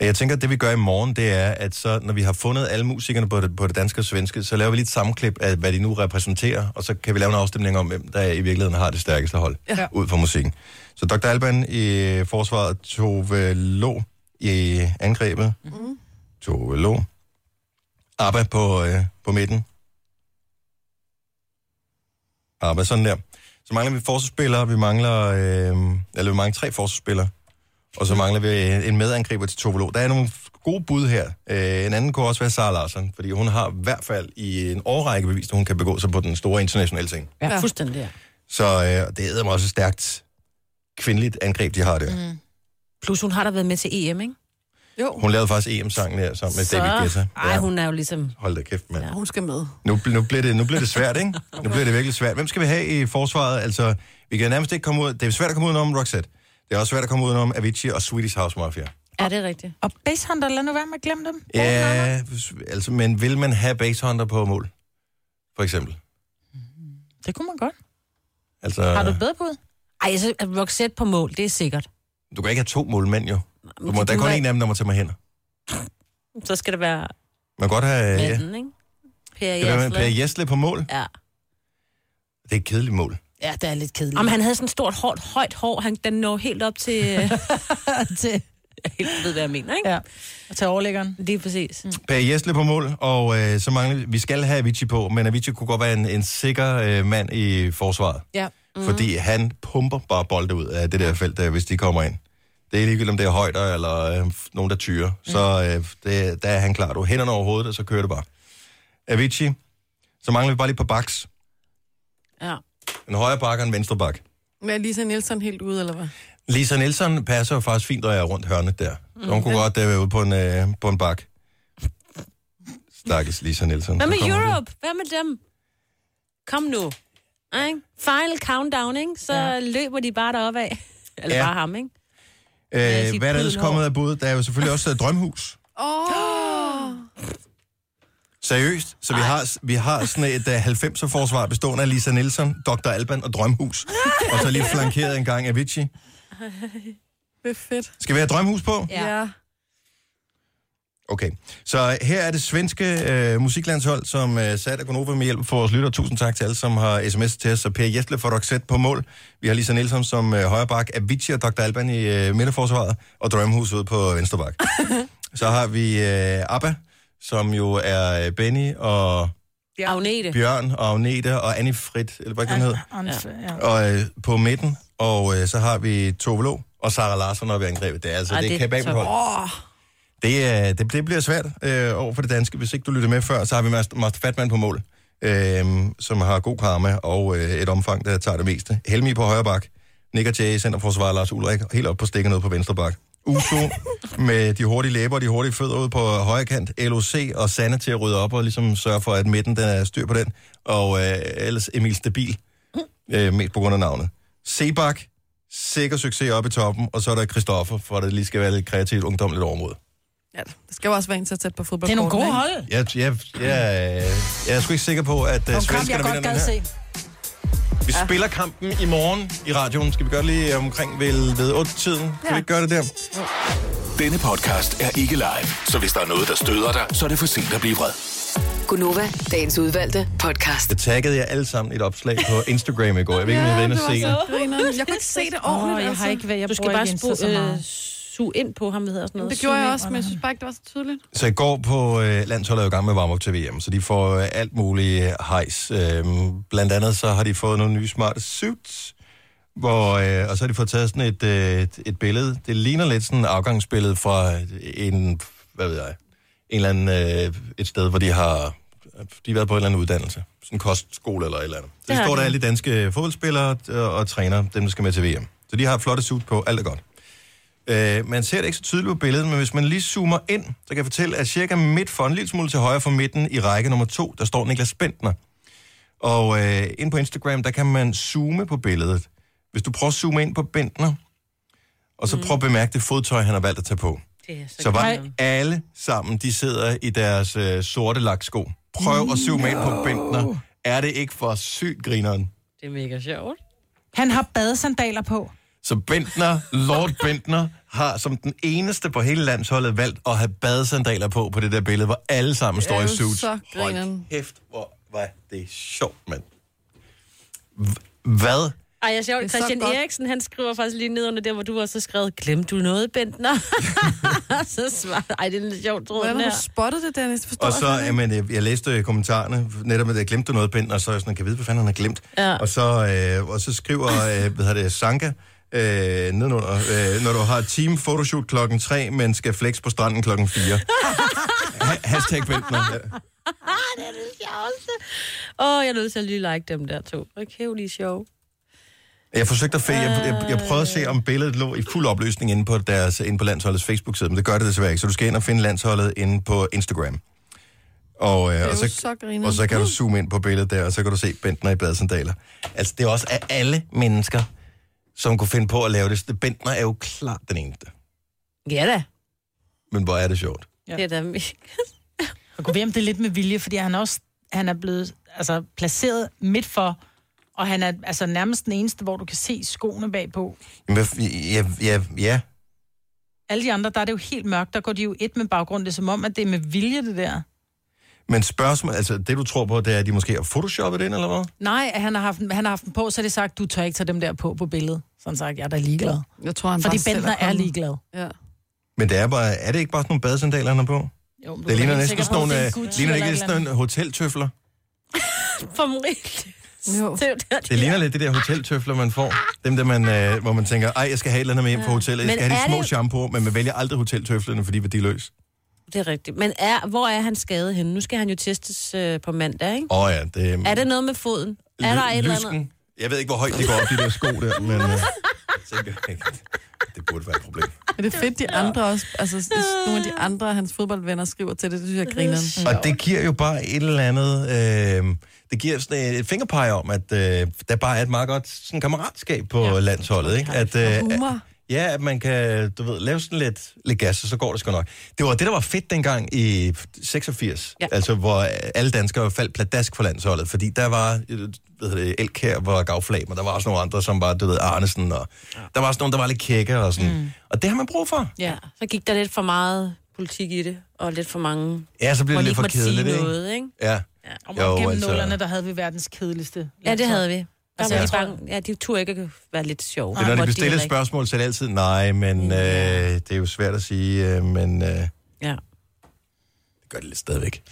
Speaker 1: Jeg tænker, at det vi gør i morgen, det er, at så, når vi har fundet alle musikerne på det, på det danske og svenske, så laver vi lige et sammenklip af, hvad de nu repræsenterer, og så kan vi lave en afstemning om, hvem der i virkeligheden har det stærkeste hold
Speaker 3: Ja.
Speaker 1: ud fra musikken. Så Dr. Alban i forsvaret, Tove Lo i angrebet,
Speaker 4: Mm.
Speaker 1: Tove Lo, Abba på, øh, på midten, Abba, sådan der. Så mangler vi forsvarsspillere, vi mangler, øh, eller vi mangler tre forsvarsspillere, og så mangler vi øh, en medangriber til Tove Lo. Der er nogle f- gode bud her. Øh, en anden kunne også være Sara Larsen, fordi hun har i hvert fald i en årrække bevist, at hun kan begå sig på den store internationale scene.
Speaker 2: Ja, fuldstændig. Ja.
Speaker 1: Så øh, det er mig også et stærkt kvindeligt angreb, de har der. Mm.
Speaker 2: Mm. Plus, hun har da været med til EM, ikke? Jo.
Speaker 1: Hun lavede faktisk EM-sangen der sammen med så... David Guetta.
Speaker 2: Ej, hun er jo ligesom...
Speaker 1: Hold da kæft, mand. Ja.
Speaker 4: Hun skal med.
Speaker 1: Nu, bl- nu, bliver det, nu bliver det svært, ikke? Nu bliver det virkelig svært. Hvem skal vi have i forsvaret? Altså, vi kan nærmest ikke komme ud... Det er svært at komme udenom Roxette. Det er også svært at komme udenom Avicii og Swedish House Mafia.
Speaker 2: Er det rigtigt?
Speaker 3: Og Basehunter, lad nu være med at glemme dem.
Speaker 1: Ja, altså, men vil man have basehunter på mål? For eksempel.
Speaker 3: Det kunne man godt.
Speaker 1: Altså,
Speaker 2: Har du
Speaker 1: du...
Speaker 2: et
Speaker 3: bedre bud?
Speaker 2: Ej, så er Roxette på mål, det er sikkert.
Speaker 1: du kan ikke have to målmænd, jo. Du
Speaker 2: men
Speaker 1: må,
Speaker 2: det
Speaker 1: der er
Speaker 2: kunne
Speaker 1: kun
Speaker 2: være-
Speaker 1: en af dem, der må tage mig hen.
Speaker 2: Så skal det være
Speaker 1: Man kan godt have... Ja.
Speaker 2: manden, ikke? Per
Speaker 1: Skal det være med
Speaker 2: Jasle.
Speaker 1: Per Jesle på mål?
Speaker 2: Ja.
Speaker 1: Det er et kedeligt mål.
Speaker 3: Ja, det er lidt kedeligt.
Speaker 2: Om han havde sådan et stort, hårdt, højt hår, han, den når helt op til...
Speaker 3: til...
Speaker 2: Jeg helt ved, hvad jeg mener, ikke?
Speaker 3: Ja, og til overlæggeren.
Speaker 2: Det er præcis. Mm.
Speaker 1: Per Jesle på mål, og øh, så mangler vi... Vi skal have Avicii på, men Avicii kunne godt være en, en sikker øh, mand i forsvaret.
Speaker 3: Ja.
Speaker 2: Mhm.
Speaker 1: Mm. Fordi han pumper bare bolde ud af det der felt, der, hvis de kommer ind. Det er ligegyldigt, om det er højder eller øh, f- nogen, der tyrer. Mm.
Speaker 2: Mhm.
Speaker 1: Så øh, det, der er han klar. Du har hænderne over hovedet, og så kører det bare. Avicii, så mangler vi bare lige på baks.
Speaker 2: Ja.
Speaker 1: En højre bak og en venstre bak.
Speaker 4: Men er Lisa Nielsen helt ude, eller hvad?
Speaker 1: Lisa Nielsen passer jo faktisk fint, når jeg er rundt hørnet der.
Speaker 2: Mhm.
Speaker 1: Mm. Så hun kunne godt øh, være ude på en, øh, på en bak. Stakkes Lisa Nielsen.
Speaker 2: Hvad
Speaker 1: Så
Speaker 2: med
Speaker 1: kommer hun.
Speaker 2: Europe? Hvad med dem? Kom nu. Ej, Ikke? Final countdown, ikke? Så ja. løber de bare deroppe af. Eller
Speaker 1: Ja.
Speaker 2: ja. bare ham, ikke? jeg
Speaker 1: Øh,
Speaker 2: sige,
Speaker 1: hvad er der ellers
Speaker 2: pudlen
Speaker 1: kommet af bud? Der er jo selvfølgelig også øh, Drømhus.
Speaker 4: Åh! Oh.
Speaker 1: Seriøst? Så vi har, vi har sådan et uh, 90'er-forsvar bestående af Lisa Nielsen, Dr. Alban og Drømhus. og så lige flankeret en gang Avicii.
Speaker 4: Det er fedt.
Speaker 1: Skal vi have Drømhus på?
Speaker 2: Ja.
Speaker 4: ja.
Speaker 1: Okay. Så her er det svenske øh, musiklandshold, som øh, satte Gonova med hjælp for vores lytter. Tusind tak til alle, som har sms til os. Så Per Jesle får Roxette på mål. Vi har Lisa Nielsen som øh, højre bak, Avicii og Dr. Alban i øh, midterforsvaret, og Drømhus ude på venstre bak. så har vi øh, Abba, som jo er øh, Benny og
Speaker 2: Agnete.
Speaker 1: Bjørn og Agnete og Annie Frit, eller hvad kan hun hedder?
Speaker 3: Ja.
Speaker 1: og øh, på midten, og øh, så har vi Tove Lo og Sara Larsson oppe i angrebet. Det er altså,
Speaker 2: Ej,
Speaker 1: det, det
Speaker 2: det
Speaker 1: er
Speaker 2: er
Speaker 1: kæmpe
Speaker 2: top.
Speaker 1: hold. Det, er, det, det bliver svært øh, over for det danske. Hvis ikke du lytter med før, så har vi Mas- Master Fatman på mål, øh, som har god karma og øh, et omfang, der tager det meste. Helmi på højre bak, Nick og Jay, centerforsvarer Lars Ulrik, helt op på stikken ned på venstre bak. Uso med de hurtige læber og de hurtige fødder ud på højre kant. LOC og Sanne til at rydde op og ligesom sørge for, at midten den er styr på den. Og øh, ellers Emil Stabil,
Speaker 2: Mm.
Speaker 1: øh, mest på grund af navnet. Sebak, sikker succes oppe i toppen, og så er der Christoffer, for at det lige skal være lidt kreativt ungdomligt overmod.
Speaker 4: ja. Det skal jo også være en så tæt på fodbold.
Speaker 3: Det er nogle gode hold.
Speaker 1: Jeg, jeg, jeg, jeg er sgu ikke sikker på, at uh,
Speaker 3: Nogle kamp, jeg
Speaker 1: svenskerne vinder
Speaker 3: godt
Speaker 1: den
Speaker 3: gad se.
Speaker 1: her. Vi spiller kampen i morgen i radioen. Skal vi gøre det lige øh, omkring ved, ved 8-tiden? Kan vi
Speaker 4: Ja.
Speaker 1: ikke gøre det der?
Speaker 6: Denne podcast er ikke live, så hvis der er noget, der støder dig, så er det for sent at blive vred.
Speaker 5: Gunova, dagens udvalgte podcast.
Speaker 1: Jeg taggede jer alle sammen i et opslag på Instagram i går. Jeg ved ikke, om I var inde og se det.
Speaker 4: Grineren. Jeg kunne ikke se det
Speaker 3: Åh,
Speaker 4: ordentligt. altså.
Speaker 3: oh, jeg har ikke været. Jeg
Speaker 2: Du skal
Speaker 3: bruger
Speaker 2: bare
Speaker 3: ikke Insta
Speaker 2: spu,
Speaker 3: så meget.
Speaker 2: øh, suge ind på ham, hvad hedder sådan noget.
Speaker 4: Det gjorde jeg
Speaker 2: Zoom
Speaker 4: også, men jeg synes bare ikke, det var så tydeligt.
Speaker 1: Så i går på øh, landsholdet er jo i gang med varm op til VM, så de får øh, alt muligt hejs. Øhm, blandt andet så har de fået nogle nye smarte suits, hvor, øh, og så har de fået taget sådan et, øh, et- et billede. Det ligner lidt sådan et afgangsbillede fra en, hvad ved jeg, en eller anden, øh, et sted, hvor de har de har været på en eller anden uddannelse. Sådan en kostskole eller et eller andet. Så
Speaker 2: Det
Speaker 1: de
Speaker 2: har
Speaker 1: står
Speaker 2: de.
Speaker 1: der alle de danske fodboldspillere øh, og, og træner, dem der skal med til VM. Så de har flotte suit på, alt er godt. Øh, man ser det ikke så tydeligt på billedet, men hvis man lige zoomer ind, så kan jeg fortælle, at cirka midt for en lille smule til højre for midten i række nummer to, der står Niklas Bentner. Og øh, ind på Instagram, der kan man zoome på billedet. Hvis du prøver at zoome ind på Bentner, og så mm. prøv at bemærke det fodtøj, han har valgt at tage på.
Speaker 2: Det er så,
Speaker 1: Så var
Speaker 2: godt.
Speaker 1: alle sammen, de sidder i deres øh, sorte laksko. Prøv at zoome ind på Bentner. Er det ikke for sygt grineren?
Speaker 2: Det er mega sjovt.
Speaker 3: Han har badesandaler på.
Speaker 1: Så Bentner, Lord Bentner, har som den eneste på hele landsholdet valgt at have badesandaler på på det der billede, hvor alle sammen står
Speaker 4: er
Speaker 1: i
Speaker 4: jo
Speaker 1: suits.
Speaker 4: så
Speaker 1: Hold
Speaker 4: grineren.
Speaker 1: kæft, hvor var det sjovt, mand. H- hvad?
Speaker 2: Ej, jeg er sjovt.
Speaker 4: Det er så
Speaker 2: Christian
Speaker 4: godt.
Speaker 2: Eriksen, han skriver faktisk lige ned under der, hvor du også har skrevet, glemte du noget, Bentner? så svarer Ej, det er lidt sjovt, tror jeg.
Speaker 4: Hvordan har du spottet det, Dennis? Det Forstår
Speaker 1: Og så,
Speaker 4: jeg slet ikke.
Speaker 1: jamen, jeg, jeg læste øh, kommentarerne, netop med det, glemte du noget, Bent, og så er jeg sådan, kan jeg vide, hvad fanden han har glemt.
Speaker 2: Ja.
Speaker 1: Og, så, øh, og så skriver, øh, hvad hedder det, Sanka, øh, nedenunder, øh, når du har team photoshoot klokken 3, men skal flex på stranden klokken 4. Ha- hashtag Bentner. Ja.
Speaker 2: Ah, det er det sjoveste. Åh, oh, jeg er nødt til at lige like dem der to. Okay, hvor de er sjove.
Speaker 1: Jeg forsøgte at finde, jeg, jeg, jeg prøvede at se, om billedet lå i fuld opløsning inde på, deres, inde på landsholdets Facebook-side, men det gør det desværre ikke, så du skal ind og finde landsholdet inde på Instagram. Og, øh,
Speaker 4: Det er
Speaker 1: og, så,
Speaker 4: jo så grineren.
Speaker 1: og så kan du zoome ind på billedet der, og så kan du se Bentner i badesandaler. Altså, det er også af alle mennesker, som kunne finde på at lave det. Bentner er jo klart den eneste.
Speaker 2: Ja da.
Speaker 1: Men hvor er det sjovt.
Speaker 3: Ja.
Speaker 2: Det er da mega.
Speaker 3: Og gå ved, om det er lidt med vilje, fordi han er også han er blevet altså, placeret midt for, og han er altså nærmest den eneste, hvor du kan se skoene bagpå.
Speaker 1: Jamen, hvad f- ja, ja, ja.
Speaker 3: Alle de andre, der er det jo helt mørkt, der går de jo et med baggrund. Det er som om, at det er med vilje, det der.
Speaker 1: Men spørgsmålet, altså det du tror på, det er, at de måske har photoshoppet det ind, eller hvad?
Speaker 3: Nej, at han har, haft, den- han har haft den på, så har de sagt, du tør ikke tage dem der på på billedet. Sådan sagt, jeg er da ligeglad.
Speaker 4: Jeg tror, han
Speaker 3: Fordi
Speaker 4: bare selv
Speaker 3: Bentner er
Speaker 4: kommet.
Speaker 3: ligeglad.
Speaker 4: Ja.
Speaker 1: Men det er, bare, er det ikke bare sådan nogle badesandaler, han har på?
Speaker 3: Jo,
Speaker 1: Det ligner næsten sådan nogle, øh, ligner det ikke sådan nogle hoteltøfler?
Speaker 2: Formelt.
Speaker 4: Jo.
Speaker 2: Det er jo der, de
Speaker 1: Det ligner lidt det der hoteltøfler, man får. Dem der, man, øh, hvor man tænker, ej, jeg skal have et eller andet med hjem fra hotellet. Jeg
Speaker 2: Men
Speaker 1: skal have
Speaker 2: er
Speaker 1: de små
Speaker 2: det-
Speaker 1: shampoo, men man vælger aldrig hoteltøflerne, fordi de er løs.
Speaker 2: Det er rigtigt. Men er, hvor er han skadet henne? Nu skal han jo testes øh, på mandag, ikke?
Speaker 1: Åh oh, ja, det
Speaker 2: Er det noget med foden? Er der et eller andet?
Speaker 1: lysken? Jeg ved ikke, hvor højt de går op, de der sko der, men øh, tænker, jeg ikke, det burde være et problem.
Speaker 4: Men det er fedt, de andre også, altså s- nogle af de andre af hans fodboldvenner skriver til det, det synes jeg griner.
Speaker 1: Mm. Og det giver jo bare et eller andet... Øh, det giver sådan et fingerpege om, at øh, der bare er et meget godt sådan, kammeratskab på ja, landsholdet. Ikke? At, øh,
Speaker 4: Humor.
Speaker 1: ja, at man kan du ved, lave sådan lidt, lidt gas, og så går det sgu nok. Det var det, der var fedt dengang i 86, ja. altså hvor alle danskere faldt pladask for landsholdet, fordi der var øh, hvad hedder det, Elkær var gavflag, men der var også nogle andre, som var, du ved, Arnesen, og der var også nogle, der var lidt kække og sådan. Mm. Og det har man brug for.
Speaker 2: Ja, så gik der lidt for meget politik i det, og lidt for mange...
Speaker 1: Ja, så bliver
Speaker 2: Hvor
Speaker 1: det
Speaker 2: de
Speaker 1: lidt
Speaker 2: ikke
Speaker 1: for
Speaker 2: måtte sige
Speaker 1: kedeligt,
Speaker 2: noget, ikke?
Speaker 1: Ja.
Speaker 3: Og
Speaker 1: Jo,
Speaker 3: gennem
Speaker 1: altså.
Speaker 3: nullerne, der havde vi verdens kedeligste.
Speaker 2: Ja, det havde vi. Der
Speaker 3: Altså,
Speaker 2: var
Speaker 3: jeg
Speaker 2: de
Speaker 3: tror-
Speaker 2: bange. Ja, de turde ikke at være lidt sjove.
Speaker 1: Det er, når
Speaker 2: Hvor
Speaker 1: de bestiller et
Speaker 2: heller ikke-
Speaker 1: spørgsmål, så er det altid nej, men øh, det er jo svært at sige, øh, men øh, det
Speaker 2: Ja.
Speaker 1: gør det lidt stadigvæk.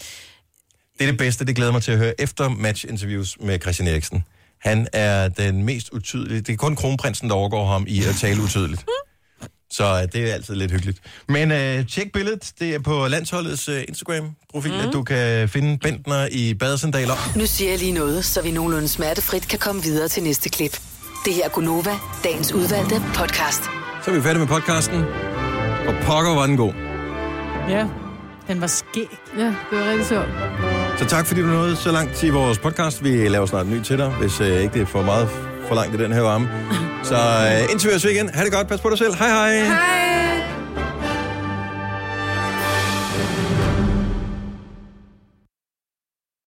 Speaker 1: Det er det bedste, det glæder mig til at høre efter matchinterviews med Christian Eriksen. Han er den mest utydelige. Det er kun kronprinsen, der overgår ham i at tale utydeligt. Så øh, det er altid lidt hyggeligt. Men øh, tjek billedet. Det er på landsholdets øh, Instagram-profil, mm. at du kan finde Bentner i badesandaler.
Speaker 5: Nu siger jeg lige noget, så vi nogenlunde smertefrit kan komme videre til næste klip. Det her er Gunova, dagens udvalgte podcast.
Speaker 1: Så er vi færdige med podcasten. Og pokker var den god.
Speaker 3: Ja, den var skæg.
Speaker 4: Ja, det var rigtig sjovt.
Speaker 1: Så tak fordi du nåede så langt i vores podcast. Vi laver snart en ny til dig, hvis øh, ikke det er for meget for langt i den her varme. Så øh, indtil vi høres ved igen. Ha' det godt. Pas på dig selv. Hej hej. hej.
Speaker 4: Hej!